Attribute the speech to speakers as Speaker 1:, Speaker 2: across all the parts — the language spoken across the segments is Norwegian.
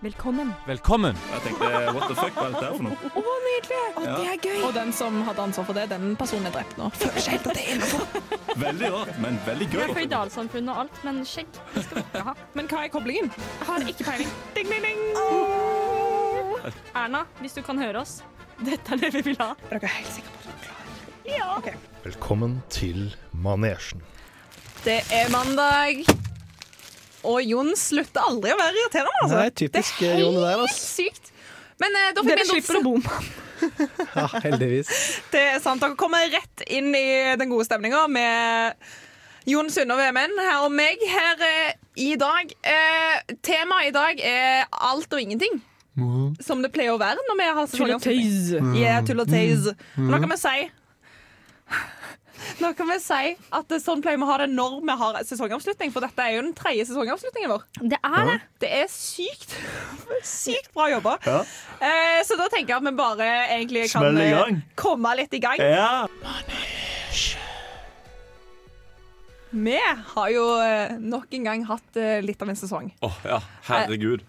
Speaker 1: Velkommen.
Speaker 2: Velkommen!
Speaker 3: Jeg tenkte what the fuck, hva er dette her for noe?
Speaker 1: Å, nydelig!
Speaker 3: Ja.
Speaker 1: Det er gøy.
Speaker 4: Og den som hadde ansvar for det, den personen er drept nå. Føler seg helt at det er innenfor.
Speaker 3: Veldig rart, men veldig gøy.
Speaker 5: Jeg er føydalsamfunn og alt, men skjegg det skal dere ha.
Speaker 4: Men hva er koblingen?
Speaker 5: Jeg har ikke peiling. Ding, ding, ding. Erna, hvis du kan høre oss, dette er det vi vil ha.
Speaker 4: Er dere helt sikre på at dere er klare?
Speaker 6: Velkommen til manesjen.
Speaker 4: Det er mandag. Og Jon slutter aldri å være irriterende. Altså.
Speaker 7: Nei, typisk,
Speaker 4: det er
Speaker 7: eh, Jon, det der,
Speaker 4: helt
Speaker 7: altså.
Speaker 4: Sykt. Men eh, da fikk vi
Speaker 1: Dere
Speaker 4: en
Speaker 1: slipper å
Speaker 4: notis.
Speaker 1: bo
Speaker 7: Ja, heldigvis.
Speaker 4: Det er eh, sant. Dere kommer rett inn i den gode stemninga med Jon Sunnov Emen her og meg her eh, i dag. Eh, Temaet i dag er alt og ingenting. Som det pleier å være når vi har
Speaker 1: Tull og
Speaker 4: sesongavslutning. Yeah, tull
Speaker 3: Mm.
Speaker 4: og tøys. Men Nå kan vi si nå kan vi si at det- sånn pleier vi å ha det når vi har sesongavslutning, for dette er jo den tredje sesongavslutningen vår.
Speaker 5: Det er det.
Speaker 4: Det er sykt sykt bra jobba.
Speaker 3: Ja.
Speaker 4: Eh, så da tenker jeg at vi bare egentlig kan
Speaker 3: Smell i
Speaker 4: eh,
Speaker 3: gang.
Speaker 4: komme litt i gang.
Speaker 3: Ja.
Speaker 4: Vi har jo eh, nok en gang hatt eh, litt av en sesong.
Speaker 2: Åh, ja. Herregud.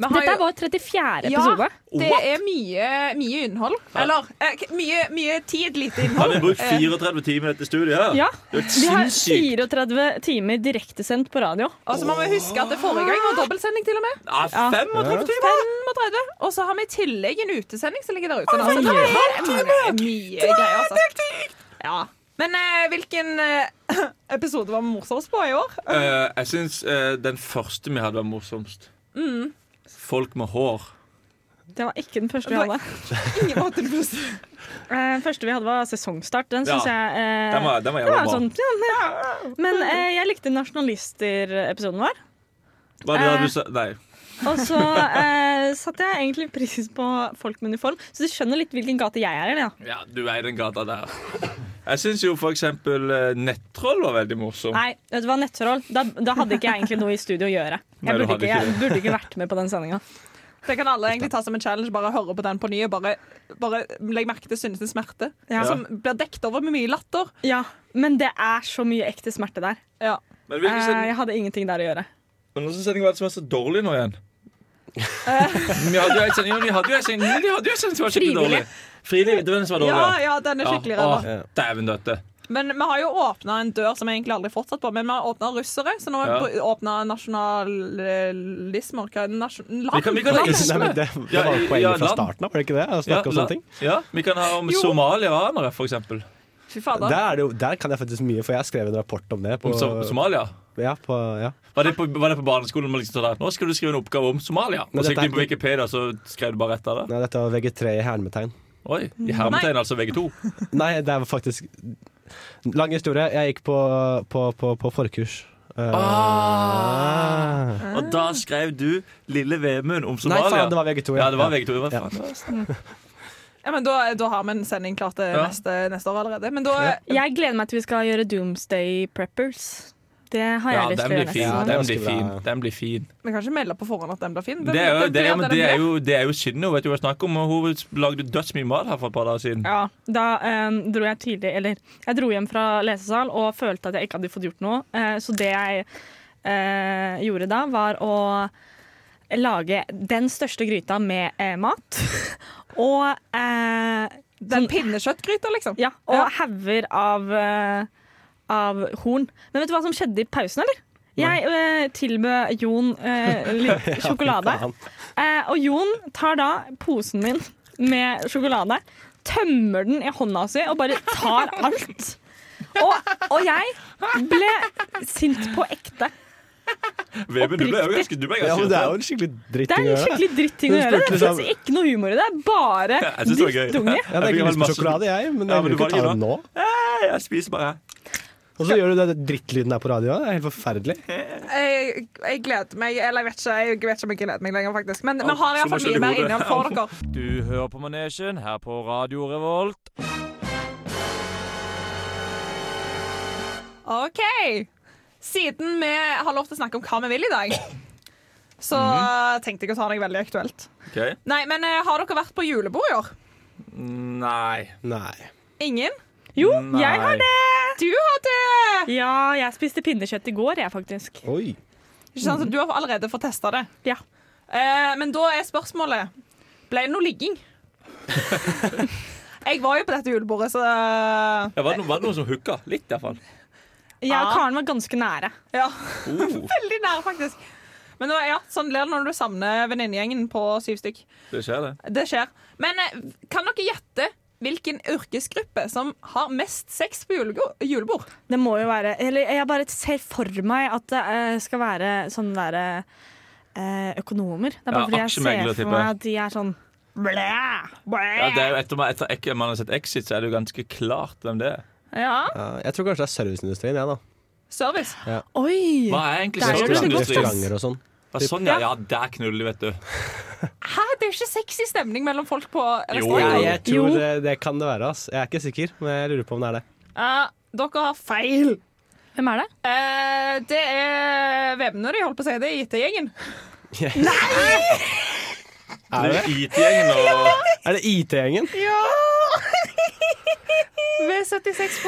Speaker 4: Vi har
Speaker 5: Dette er
Speaker 4: jo-
Speaker 5: eh, vår 34.
Speaker 4: Ja,
Speaker 5: episode.
Speaker 4: Det er mye, mye innhold. Eller eh, k- mye, mye tid, lite
Speaker 3: Hadde
Speaker 4: innhold.
Speaker 3: jeg brukt 34 timer i dette studiet her?
Speaker 5: Ja.
Speaker 3: Det er jo
Speaker 5: Vi har
Speaker 3: sinnssykt.
Speaker 5: 34 timer direktesendt på radio.
Speaker 4: Og så må vi huske at det forrige gang var dobbeltsending, til og med.
Speaker 2: Ja, 35 timer!
Speaker 4: 35. Og så har vi i tillegg en utesending som ligger der ute. nå. Så det er mye, mye greier, altså. Ja. Men eh, hvilken eh, episode var morsomst på i år?
Speaker 2: Eh, jeg syns eh, den første vi hadde, var morsomst.
Speaker 5: Mm.
Speaker 2: Folk med hår.
Speaker 5: Eh, Det var ikke den første vi
Speaker 4: Det var
Speaker 5: hadde.
Speaker 4: Ingen måte plutselig.
Speaker 5: Eh, første vi hadde, var sesongstart. Den syns
Speaker 2: Ja.
Speaker 5: jeg eh,
Speaker 2: Den var, den var
Speaker 5: det
Speaker 2: jævla
Speaker 5: var
Speaker 2: bra.
Speaker 5: sånn, ja, men- Men eh, jeg likte nasjonalister-episoden vår.
Speaker 2: Hva er det
Speaker 5: eh,
Speaker 2: du sa? Nei.
Speaker 5: Og så eh, satte jeg egentlig pris på folk med uniform, så du skjønner litt hvilken gate jeg er i. da.
Speaker 2: Ja, du er i den gata der. Jeg syns jo for eksempel eh, nettroll var veldig morsom.
Speaker 5: Nei, vet du hva, nettroll. Da, da hadde ikke jeg egentlig noe i studio å gjøre. Jeg
Speaker 2: Nei, du
Speaker 5: burde
Speaker 2: hadde
Speaker 5: ikke,
Speaker 2: ikke
Speaker 5: jeg burde ikke vært med på den sendinga.
Speaker 4: Det kan alle egentlig ta som en challenge. Bare høre på den på ny. og Bare, bare legg merke til Synnes smerte,
Speaker 5: Ja.
Speaker 4: som blir dekt over med mye latter.
Speaker 5: Ja, men det er så mye ekte smerte der.
Speaker 4: Ja.
Speaker 2: Men
Speaker 5: Eh,
Speaker 2: hvilken sending,
Speaker 5: jeg hadde ingenting der å gjøre.
Speaker 2: men hvilken sending var det som var så dårlig nå igjen?
Speaker 5: Eh.
Speaker 2: vi hadde jo en sending, jo, vi hadde jo en sending, vi hadde jo en sending som var skikkelig dårlig. Frivillig. Det var den som var dårlig.
Speaker 4: ja,
Speaker 2: ja.
Speaker 4: ja, den er skikkelig
Speaker 2: Ja,
Speaker 4: ræva.
Speaker 2: å, Dæven døtte.
Speaker 4: Men vi har jo åpna en dør som vi egentlig aldri fortsatt på. Men vi har åpna russere, så nå har vi åpna nasjonalismer Hva er det? Nasjon... Land?
Speaker 2: Vi kan- vi kan-
Speaker 4: land.
Speaker 7: Nei, men det, det var
Speaker 2: Ja, ja,
Speaker 7: poenget fra
Speaker 2: land.
Speaker 7: starten av, var det ikke det? Å
Speaker 2: Ja,
Speaker 7: snakke om
Speaker 2: la-
Speaker 7: sånne ting.
Speaker 2: ja, vi kan ha om
Speaker 4: Jo.
Speaker 2: somalianere, for eksempel.
Speaker 4: Fy fader.
Speaker 7: Der, er det jo, der kan jeg faktisk mye, for jeg skrev en rapport om det. På,
Speaker 2: Om so Somalia.
Speaker 7: ja, på, ja.
Speaker 2: Var det på, var det på barneskolen? man liksom sa der, Nå skal du skrive en oppgave om Somalia.
Speaker 7: Men
Speaker 2: Og så
Speaker 7: dette
Speaker 2: gikk
Speaker 7: er
Speaker 2: de på Wikipedia, så skrev du bare rett av det.
Speaker 7: Nei, dette var VG3 i hermetegn.
Speaker 2: Oi, I hermetegn, altså VG2.
Speaker 7: Nei, det var faktisk Lang historie. Jeg gikk på, på, på, på forkurs.
Speaker 2: Ah!
Speaker 7: Eh,
Speaker 2: Og da skrev du Lille Vemund om
Speaker 7: Ah. Nei,
Speaker 2: Somalia.
Speaker 7: faen, det var VG2.
Speaker 2: Ja, det var VG2. det var
Speaker 7: Ja.
Speaker 2: faen.
Speaker 4: Ja, men da, da har vi en sending klar til
Speaker 2: Ja.
Speaker 4: neste, neste år allerede. Men da
Speaker 5: Jeg gleder meg til vi skal gjøre Doomsday Preppers. Det har
Speaker 2: Ja,
Speaker 5: jeg lyst
Speaker 2: den
Speaker 5: til å
Speaker 2: blir
Speaker 5: gjøre.
Speaker 2: fin.
Speaker 7: Ja, det er
Speaker 2: den,
Speaker 7: ganske
Speaker 2: blir fin.
Speaker 7: bra.
Speaker 2: den blir fin.
Speaker 4: Vi kan ikke melde på forhånd at den blir fin. Den-
Speaker 2: Det er jo,
Speaker 4: den-
Speaker 2: det er,
Speaker 4: den-
Speaker 2: men
Speaker 4: den
Speaker 2: det er
Speaker 4: blir.
Speaker 2: jo, det er jo synd, hun vet du hva jeg snakker om. og Hun lagde dødsmye mat her for et par dager siden.
Speaker 5: Ja, da eh, dro jeg tidlig, eller jeg dro hjem fra lesesal og følte at jeg ikke hadde fått gjort noe. Eh, så det jeg eh, gjorde da, var å lage den største gryta med eh, mat. og eh,
Speaker 4: Den pinnekjøttgryta, liksom.
Speaker 5: ja, og
Speaker 4: Ja.
Speaker 5: hauger av, eh, av horn. Men vet du hva som skjedde i pausen, eller? Jeg eh, tilbød Jon eh, litt sjokolade.
Speaker 7: faen.
Speaker 5: Eh, og Jon tar da posen min med sjokolade, tømmer den i hånda si og bare tar alt. Og, og jeg ble sint på ekte.
Speaker 2: Vemund, du ble jo
Speaker 5: Oppriktig.
Speaker 2: ganske du ble
Speaker 7: Ja,
Speaker 2: ganske
Speaker 7: men det er jo
Speaker 2: irritert.
Speaker 7: en skikkelig dritt
Speaker 5: Det
Speaker 7: å
Speaker 5: er en
Speaker 7: gjøre.
Speaker 5: skikkelig dritting å
Speaker 7: Hun
Speaker 5: gjøre. Det
Speaker 7: spurte
Speaker 5: fins
Speaker 7: liksom-
Speaker 5: ikke noe humor i det. Bare
Speaker 2: Jeg synes det var gøy.
Speaker 5: drittunge.
Speaker 7: Jeg hadde
Speaker 2: Jeg fikk
Speaker 7: ikke lyst på
Speaker 2: masse-
Speaker 7: sjokolade, jeg, men
Speaker 2: Ja,
Speaker 7: jeg
Speaker 2: men du
Speaker 7: vil ikke ta
Speaker 2: velger
Speaker 7: det nå.
Speaker 2: Nei, Jeg spiser bare.
Speaker 7: Og så gjør du den drittlyden her på radio. Det er helt forferdelig.
Speaker 4: Jeg, jeg gleder meg, eller jeg vet ikke, jeg vet ikke om jeg gleder meg lenger, faktisk. Men vi har i
Speaker 2: så må
Speaker 4: hvert fall
Speaker 2: jeg
Speaker 4: mye mer
Speaker 2: skjønne
Speaker 4: innhold for dere.
Speaker 2: Du hører på Manesjen her på Radio Revolt.
Speaker 4: OK. Siden vi har lov til å snakke om hva vi vil i dag, så tenkte jeg å ta noe veldig aktuelt.
Speaker 2: Ok.
Speaker 4: Nei, men eh, har dere vært på julebord i år?
Speaker 2: Nei.
Speaker 7: Nei.
Speaker 4: Ingen?
Speaker 5: Jo, jeg har det.
Speaker 4: Du hadde
Speaker 5: Ja, jeg spiste pinnekjøtt i går, jeg, faktisk.
Speaker 7: Oi.
Speaker 4: Ikke sant, så Du har allerede fått testa det.
Speaker 5: Ja.
Speaker 4: Eh, men da er spørsmålet Ble det noe ligging? jeg var jo på dette julebordet, så eh,
Speaker 2: Ja, var, det noen, var det noen som hooka? Litt, iallfall.
Speaker 5: Jeg og
Speaker 4: Ah.
Speaker 5: Karen var ganske nære.
Speaker 4: Ja,
Speaker 2: Oh,
Speaker 4: veldig nære, faktisk. Men det var- ja, sånn blir det når du savner venninnegjengen på syv stykk.
Speaker 2: det skjer, det.
Speaker 4: Det skjer. Men eh, kan dere gjette hvilken yrkesgruppe som har mest sex på julego- julebord?
Speaker 5: Det må jo være Eller jeg bare ser for meg at det eh, skal være sånne derre eh, økonomer. Det er bare
Speaker 2: Ja,
Speaker 5: fordi jeg
Speaker 2: aksjemegler,
Speaker 5: ser
Speaker 2: tipper
Speaker 5: for meg at de er sånn blæ, blæ.
Speaker 2: Ja, det er jo etter, etter, etter man har sett Exit, så er det jo ganske klart hvem det er.
Speaker 4: Ja.
Speaker 7: Eh, jeg tror kanskje det er serviceindustrien, jeg, da.
Speaker 4: Service.
Speaker 5: Oi!
Speaker 2: Hva er egentlig
Speaker 5: Der gjør du det godt,
Speaker 2: serviceindustri?
Speaker 5: ass.
Speaker 7: Restauranter og sånn.
Speaker 2: Ja, Sånn, ja. ja, der knuller de, vet du.
Speaker 4: Hæ, det er ikke sexy stemning mellom folk på
Speaker 2: Jo.
Speaker 7: Ja,
Speaker 4: restaurant.
Speaker 7: jeg
Speaker 5: Jo.
Speaker 7: tror det, det kan det være. ass Jeg er ikke sikker, men jeg lurer på om det er det.
Speaker 4: Eh, dere har feil.
Speaker 5: Hvem er det?
Speaker 4: Eh, det er Vebner, jeg holdt på å si. Det er IT-gjengen.
Speaker 7: Er det,
Speaker 2: IT-gjengen og
Speaker 7: er det IT-gjengen?
Speaker 4: Ja! Ved 76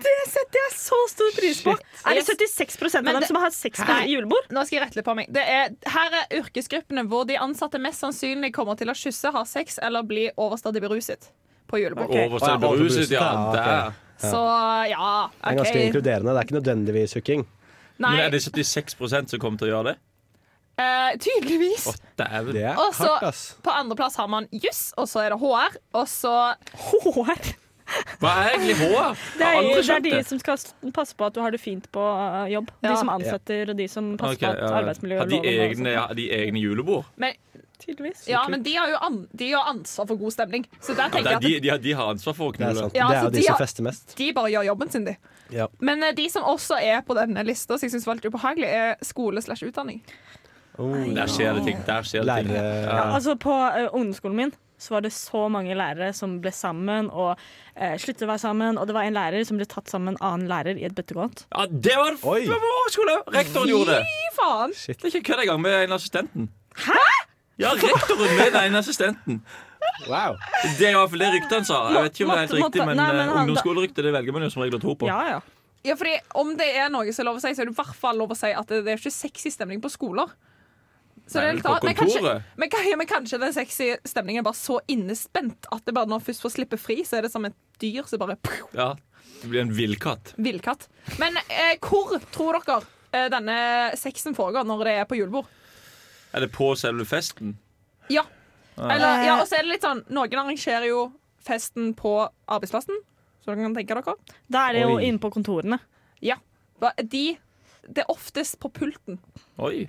Speaker 5: Det setter jeg så stor pris på! Er det 76 av
Speaker 4: Men
Speaker 5: dem
Speaker 4: det-
Speaker 5: som har sex på
Speaker 4: Nei.
Speaker 5: julebord?
Speaker 4: Nå skal jeg rette litt på meg. Det er, her er yrkesgruppene hvor de ansatte mest sannsynlig kommer til å kysse, ha sex eller bli overstadig beruset på julebord.
Speaker 2: overstått
Speaker 7: Å, ja,
Speaker 2: beruset, ja.
Speaker 7: overberuset, ja,
Speaker 2: Der.
Speaker 4: Så ja,
Speaker 7: Det er ganske
Speaker 4: OK.
Speaker 7: inkluderende. Det er ikke nødvendigvis hooking.
Speaker 4: Nei,
Speaker 2: Men er det 76 som kommer til å gjøre det?
Speaker 4: eh, tydeligvis.
Speaker 2: Å, dæven.
Speaker 7: Det er
Speaker 4: Og så-
Speaker 7: hardt, ass.
Speaker 4: På andreplass har man juss, og så er det HR, og så
Speaker 5: Hår.
Speaker 2: Hva er egentlig HR?
Speaker 5: Det er,
Speaker 2: Har
Speaker 5: jo,
Speaker 2: aldri
Speaker 5: det er
Speaker 2: skjønt
Speaker 5: de
Speaker 2: det.
Speaker 5: som skal s- passe på at du har det fint på eh, jobb.
Speaker 4: Ja.
Speaker 5: De som ansetter, og de som passer
Speaker 2: Ok,
Speaker 5: på
Speaker 2: ja,
Speaker 5: at
Speaker 2: ja. Har de
Speaker 5: arbeidsmiljøloven sånn.
Speaker 2: egne, ja, de egne julebord?
Speaker 4: Men,
Speaker 5: Tydeligvis.
Speaker 4: ja, men de har jo an, de har ansvar for god stemning. Så der
Speaker 2: Ja, det
Speaker 4: tenker
Speaker 2: er de,
Speaker 4: jeg
Speaker 2: de, har- de har ansvar for å
Speaker 7: Det er
Speaker 2: knulle.
Speaker 7: sant.
Speaker 4: Ja,
Speaker 7: det er
Speaker 4: altså,
Speaker 7: jo
Speaker 4: de
Speaker 7: de som
Speaker 4: har-
Speaker 7: fester mest.
Speaker 4: at de bare gjør jobben sin, de.
Speaker 7: Ja.
Speaker 4: Men eh, de som også er på denne lista, som jeg syns var litt ubehagelig, er skole slash utdanning.
Speaker 7: Oh.
Speaker 2: Der skjer det ting. Der skjer det ting.
Speaker 7: Lærere
Speaker 2: Ja.
Speaker 5: Altså På eh, ungdomsskolen min så var det så mange lærere som ble sammen og eh, sluttet å være sammen. Og det var en lærer som ble tatt sammen med en annen lærer i et bøttegård.
Speaker 2: Ja, det var det
Speaker 7: Oi.
Speaker 2: f- vår skole! Rektoren Sånn gjorde det.
Speaker 4: Fy faen!
Speaker 2: Det er ikke kødd engang med en assistenten. Hæ? Ja, rektoren med den ene assistenten.
Speaker 7: Wow.
Speaker 2: Det er i hvert fall det ryktet han sa. Jeg vet ikke om det er helt
Speaker 5: Måtte-
Speaker 2: riktig, men,
Speaker 5: måtte- nei, men
Speaker 2: eh,
Speaker 5: han-
Speaker 2: ungdomsskoleryktet det velger man jo som regel å tro på.
Speaker 5: Ja, ja.
Speaker 4: Ja, fordi Om det er noe som er lov å si, så er det i hvert fall lov å si at det, det er ikke sexy stemning på skoler. Så
Speaker 2: Nei,
Speaker 4: det er litt
Speaker 2: på
Speaker 4: rart, men, kanskje,
Speaker 2: kontoret.
Speaker 4: men, kan- ja, men kanskje den sexy stemningen er bare så innespent at det bare når man først får slippe fri, så er det som et dyr som bare pff,
Speaker 2: Ja, det blir en villkatt.
Speaker 4: Villkatt. Men eh, hvor tror dere eh, denne sexen foregår når det er på julebord?
Speaker 2: Er det på selve festen?
Speaker 4: Ja. Eller, ja, og så er det litt sånn Noen arrangerer jo festen på arbeidsplassen, så dere kan tenke dere.
Speaker 5: Da er det jo
Speaker 7: Oi.
Speaker 5: inne på kontorene.
Speaker 4: Ja. Hva- De Det er oftest på pulten.
Speaker 2: Oi.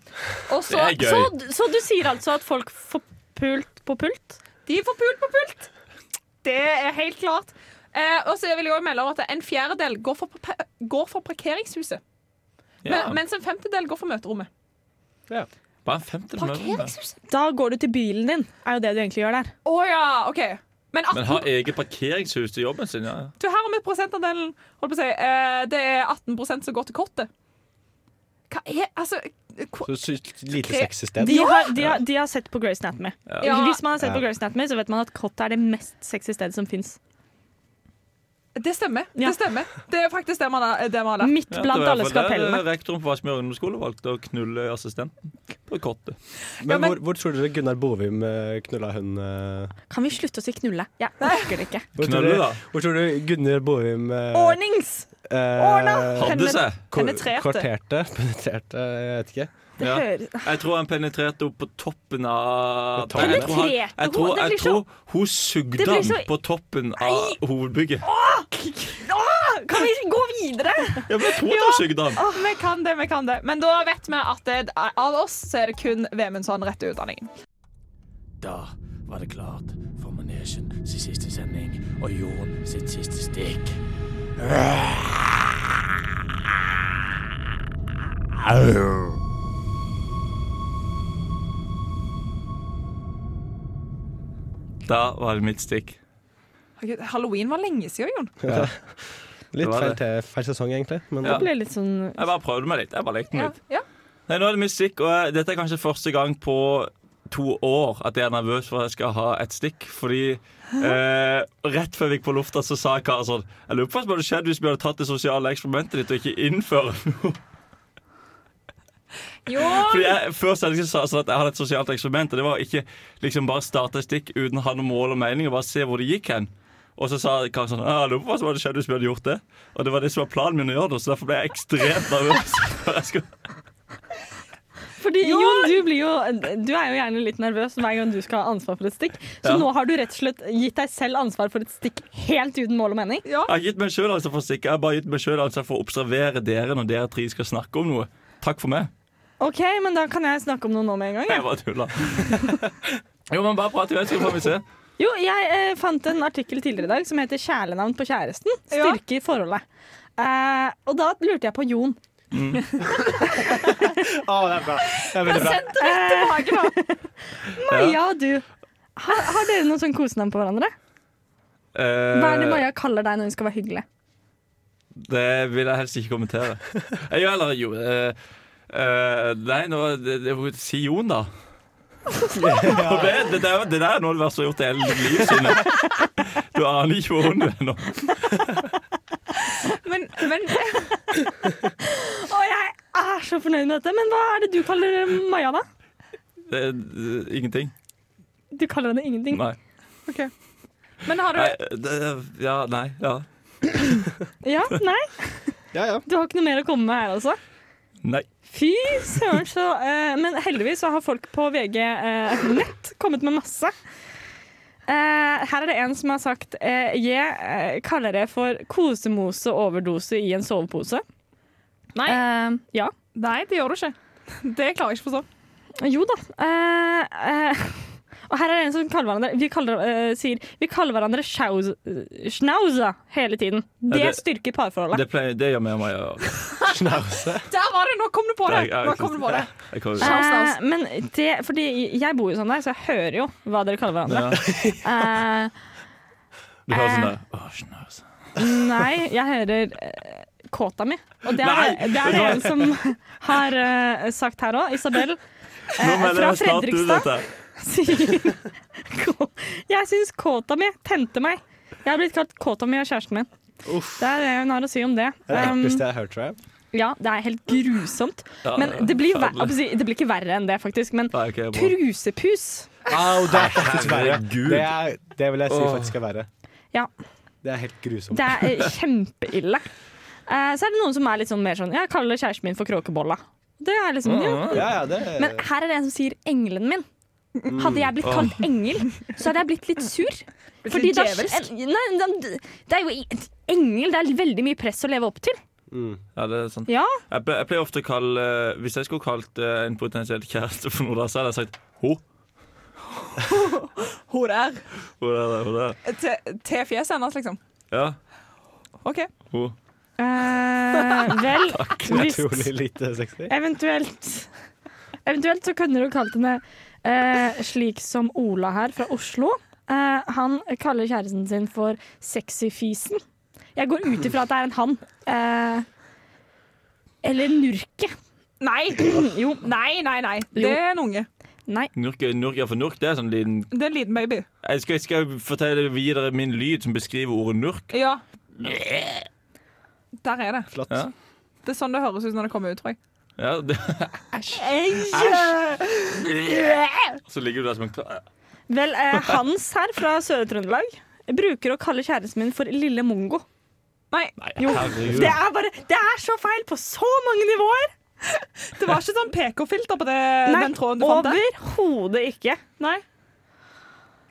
Speaker 4: Og så,
Speaker 2: Det er gøy.
Speaker 5: Så, så du sier altså at folk får pult på pult?
Speaker 4: De får pult på pult! Det er helt klart. Eh, og så vil jeg også melde om at en fjerdedel går for, pa- går for parkeringshuset.
Speaker 2: Ja.
Speaker 4: Men, mens en femtedel går for møterommet.
Speaker 2: Bare en femtedel med
Speaker 4: Parkeringshuset?
Speaker 5: Da går du til bilen din, er jo det du egentlig gjør der.
Speaker 4: Å ja, OK. Men,
Speaker 2: Men
Speaker 4: 18,
Speaker 2: har eget parkeringshus til jobben sin, ja.
Speaker 4: du, her med prosentandelen. Holdt på å si, eh, det er 18 som går til kortet. Hva er Altså hvor,
Speaker 7: Så, så lite
Speaker 4: Kre-
Speaker 7: sexsystem.
Speaker 5: De har, de har, de har sett på Grace Anatomy.
Speaker 4: Ja.
Speaker 5: Hvis man har sett
Speaker 7: Ja.
Speaker 5: på Grace Anatomy, så vet man at kott er det mest sexy stedet som fins.
Speaker 4: Det stemmer.
Speaker 5: Ja. Mm.
Speaker 4: Det stemmer Det er faktisk det man har, det man har lært.
Speaker 5: Midt blant alle skapellene.
Speaker 2: eh, Rektoren på Vassmyr ungdomsskole valgte å knulle assistenten på kottet.
Speaker 7: Men,
Speaker 4: men-
Speaker 7: hvor, hvor tror dere Gunnar Bovim eh, knulla hun eh,
Speaker 5: Kan vi slutte å si knulle? Jeg orker det ikke.
Speaker 7: hvor tror
Speaker 2: Knulle,
Speaker 7: dere-
Speaker 2: da.
Speaker 7: Hvor tror du Gunnar Bovim eh,
Speaker 5: Ordnings!
Speaker 7: eh,
Speaker 2: Hadde seg.
Speaker 7: ko-
Speaker 4: Penetrerte.
Speaker 7: Kvarterte? Penetrerte, jeg vet ikke.
Speaker 5: Det
Speaker 2: Ja.
Speaker 5: høres
Speaker 2: Jeg tror han penetrerte henne på toppen av
Speaker 7: På toppen?
Speaker 2: Jeg tror han- Jeg
Speaker 5: Penetrerte
Speaker 2: tror,
Speaker 5: hun? Det
Speaker 2: jeg
Speaker 5: blir
Speaker 2: tror hun sugde
Speaker 5: Det blir
Speaker 2: han
Speaker 5: så-
Speaker 2: på toppen av hovedbygget.
Speaker 5: Kan vi gå videre?
Speaker 2: Ja, men jeg tror at hun sugde han.
Speaker 4: Åh, vi kan det, vi kan det. Men da vet vi at det, av oss så er det kun Vemundsson rett til utdanningen.
Speaker 1: Da var det klart for manesjen sin siste sending og Jon sitt siste stikk.
Speaker 2: Da var det mitt stikk.
Speaker 4: Herregud, Halloween var lenge siden, Jon.
Speaker 7: Litt
Speaker 2: var
Speaker 7: feil,
Speaker 2: det.
Speaker 7: te- feil sesong, egentlig. Men
Speaker 2: Ja.
Speaker 5: Det ble litt sånn
Speaker 2: Jeg bare prøvde meg litt. Jeg bare lekte meg
Speaker 4: Ja,
Speaker 2: litt.
Speaker 4: ja.
Speaker 2: Nei, nå er det mitt stikk, og jeg, dette er kanskje første gang på to år at jeg er nervøs for at jeg skal ha et stikk. Fordi eh, rett før vi gikk på lufta, så sa Kara sånn Jeg lurer på hva som hadde skjedd hvis vi hadde tatt det sosiale eksperimentet ditt og ikke innføre noe.
Speaker 4: Jon!
Speaker 2: Fordi jeg, Før sendingen sa jeg sånn at jeg hadde et sosialt eksperiment. Og det var ikke liksom bare starte et stikk uten å ha noe mål og mening, og bare se hvor det gikk hen. Og så sa Kari sånn «Ah, jeg lurer på hva som hadde skjedd hvis vi hadde gjort det. Og det var det som var planen min å gjøre det, så derfor ble jeg ekstremt nervøs. For jeg skulle-
Speaker 5: Fordi Jon, du, blir jo, du er jo gjerne litt nervøs hver gang du skal ha ansvar for et stikk. Så
Speaker 2: Ja.
Speaker 5: nå har du rett og slett gitt deg selv ansvar for et stikk helt uten mål og mening.
Speaker 2: Jeg har gitt meg sjøl ansvar for å stikke. Jeg har bare gitt meg selv ansvar for å observere dere når dere tre skal snakke om noe. Takk for meg.
Speaker 5: OK, men da kan jeg snakke om noe nå med en gang. jeg.
Speaker 2: Jeg bare tulla. Jo, men bare prat i vei, så får vi se.
Speaker 5: Jo, jeg eh, fant en artikkel tidligere i dag som heter 'Kjælenavn på kjæresten styrker forholdet'. Eh, og da lurte jeg på Jon.
Speaker 7: det er bra. Det er veldig bra.
Speaker 4: Sendt rett tilbake nå.
Speaker 5: Maja og du, har, har dere noen sånn kosenavn på hverandre? Hva
Speaker 2: Eh.
Speaker 5: er det Maja kaller deg når hun skal være hyggelig?
Speaker 2: Det vil jeg helst ikke kommentere. Jeg gjør heller jo eh, eh, Nei, nå det, det, Si Jon, da. For det, det, der, det der er noe av det verste jeg har gjort i hele mitt liv. Synne. Du aner ikke hvor hun er nå.
Speaker 4: Men, men
Speaker 5: Å, jeg er så fornøyd med dette, men hva er det du kaller eh, Maja, da?
Speaker 2: Det, det, ingenting.
Speaker 5: Du kaller henne ingenting.
Speaker 2: Nei.
Speaker 4: Men har du
Speaker 2: nei det, ja, nei. Ja.
Speaker 5: Ja, nei,
Speaker 7: Ja, ja.
Speaker 5: Du har ikke noe mer å komme med her, altså?
Speaker 2: Nei.
Speaker 5: Fy søren, så eh, Men heldigvis så har folk på VG eh, nett kommet med masse. Eh, her er det en som har sagt eh, Jeg eh, kaller det for kosemose-overdose i en sovepose.
Speaker 4: Nei.
Speaker 5: Eh, ja.
Speaker 4: Nei, det gjør du ikke. Det klarer jeg ikke å forstå.
Speaker 5: Jo da. Eh, eh, og her er det en som kaller hverandre Vi kaller, eh, sier vi kaller hverandre sjauz- schnauza hele tiden. Det,
Speaker 2: det-
Speaker 5: styrker parforholdet.
Speaker 2: Det, pleier, det gjør vi og Maja.
Speaker 7: Snause.
Speaker 4: Der var det! Nå kom du på det!
Speaker 2: Jeg- jeg-
Speaker 4: Nå kom du på det.
Speaker 2: Jeg kommer-
Speaker 4: Nei. Shout
Speaker 5: Eh,
Speaker 4: outs.
Speaker 5: men det, fordi jeg bor jo sånn der, så jeg hører jo hva dere kaller hverandre.
Speaker 2: Ja.
Speaker 5: Eh,
Speaker 2: Du hører sånn der Åh, snøs.
Speaker 5: nei, jeg hører eh, kåta mi. Og det er,
Speaker 2: Nei!
Speaker 5: det er det en som har eh, sagt her òg. Isabel eh,
Speaker 2: Nå melder
Speaker 5: fra
Speaker 2: jeg snart ut
Speaker 5: Fredrikstad
Speaker 2: dette.
Speaker 5: sier Kå- Jeg syns kåta mi tente meg. Jeg har blitt kalt kåta mi av kjæresten min. Det er det hun har å si om det.
Speaker 7: Det er det
Speaker 5: Um,
Speaker 7: ekleste jeg har hørt, tror jeg.
Speaker 5: ja, det er helt grusomt.
Speaker 2: Ja,
Speaker 5: Men det blir, jo ver
Speaker 2: forferdelig.
Speaker 5: det blir ikke verre enn det, faktisk. Men
Speaker 2: Nei, ok, bra.
Speaker 5: trusepus
Speaker 7: Au, det er faktisk verre.
Speaker 2: Herregud.
Speaker 7: Det, er, det vil jeg si
Speaker 2: Åh.
Speaker 7: faktisk er verre.
Speaker 5: Ja.
Speaker 7: Det er helt grusomt.
Speaker 5: Det er eh, kjempeille. Eh, Så er det noen som er litt sånn mer sånn Jeg kaller kjæresten min for kråkebolla. Det er liksom ja.
Speaker 7: Ja, ja, det er,
Speaker 5: Men her er det en som sier engelen min. Hadde jeg blitt kalt engel, så hadde jeg blitt litt sur. Fordi
Speaker 4: litt
Speaker 5: da,
Speaker 4: djevelsk?
Speaker 5: en- nei, da- det er jo i- engel. Det er veldig mye press å leve opp til.
Speaker 2: Ja, det er sant.
Speaker 5: Ja,
Speaker 2: Jeg, ple jeg pleier ofte å kalle Hvis jeg skulle kalt eh, en potensiell kjæreste for noe, da, så hadde jeg sagt ho.
Speaker 4: Hun der.
Speaker 2: Ho der, der, ho der.
Speaker 4: Til, til fjeset hennes, liksom.
Speaker 2: Ja,
Speaker 4: OK.
Speaker 2: ho.
Speaker 5: eh, vel hvis
Speaker 7: utrolig lite sexy.
Speaker 5: Eventuelt Eventuelt så kunne du kalt henne eh, slik som Ola her fra Oslo. Eh, han kaller kjæresten sin for sexyfisen. Jeg går ut ifra at det er en han. Eh, eller nurke.
Speaker 4: Nei.
Speaker 5: Jo.
Speaker 4: Nei, nei, nei. Det
Speaker 5: Jo.
Speaker 4: er en unge.
Speaker 5: Nei.
Speaker 2: Nurk, nurk, ja, for nurk det er sånn liten
Speaker 4: Det er en liten baby.
Speaker 2: Jeg skal, jeg skal fortelle videre min lyd som beskriver ordet nurk.
Speaker 4: Ja. Der er det.
Speaker 7: Flott.
Speaker 2: Ja.
Speaker 4: Det er sånn det høres ut når det kommer ut, tror jeg.
Speaker 2: Ja, det, så ligger du der som en kla-
Speaker 5: Vel, eh, Hans her fra Sør-Trøndelag bruker å kalle kjæresten min for lille mongo.
Speaker 4: Nei,
Speaker 5: Jo,
Speaker 2: Herregud.
Speaker 5: det er bare Det er så feil på så mange nivåer!
Speaker 4: det var ikke sånn PK-filter på det,
Speaker 5: Nei,
Speaker 4: den tråden du fant der.
Speaker 5: overhodet ikke. Nei.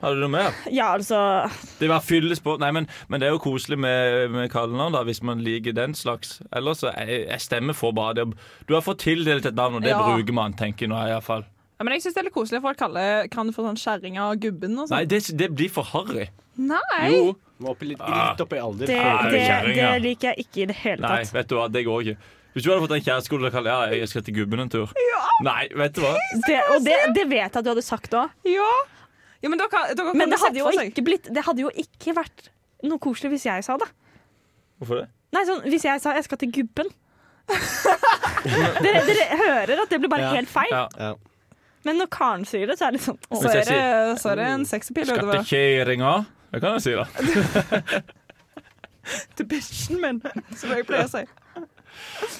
Speaker 2: Har du noe mer?
Speaker 5: Ja, altså
Speaker 2: Det var fylles på Nei, men, men det er jo koselig med, med kallenavn, da, hvis man liker den slags. Ellers så jeg, jeg stemmer for bare det. Du har fått tildelt et navn, og det
Speaker 4: Ja.
Speaker 2: bruker man, tenker jeg nå iallfall.
Speaker 4: Ja, men jeg synes det er litt koselig at folk kaller kan for sånn kjerringa og gubben og
Speaker 2: Nei,
Speaker 4: sånn.
Speaker 2: det, det blir for harry.
Speaker 4: Nei.
Speaker 2: Jo.
Speaker 7: Må opp i litt,
Speaker 2: Ah.
Speaker 7: litt opp i alder.
Speaker 5: Det,
Speaker 2: Nei,
Speaker 5: det, det
Speaker 2: kjerring, ja.
Speaker 5: liker jeg ikke i det hele
Speaker 2: Nei,
Speaker 5: tatt.
Speaker 2: vet du hva, det går ikke. Hvis du hadde fått en kjæreste, skulle du kalt ja, jeg skal til gubben en tur. Nei, vet du hva?
Speaker 5: Det, og det, det vet jeg at du hadde sagt òg.
Speaker 4: Ja. ja, men dere, kan- dere kan
Speaker 5: Men det
Speaker 4: sette
Speaker 5: hadde, jo
Speaker 4: for seg.
Speaker 5: ikke blitt, det hadde jo ikke vært noe koselig hvis jeg sa det.
Speaker 2: Hvorfor det?
Speaker 5: Nei, sånn, Hvis jeg sa 'jeg skal til gubben'. dere, dere hører at det blir bare
Speaker 7: Ja.
Speaker 5: helt feil.
Speaker 2: Ja.
Speaker 7: Ja.
Speaker 5: Men når Karen sier det, så er det sånn å,
Speaker 4: Så
Speaker 2: Hvis jeg
Speaker 4: er det, så er det en sexappeal utover.
Speaker 2: Skattekjerringa. Det kan jeg si, da.
Speaker 4: Til bikkjen min, som jeg pleier å si.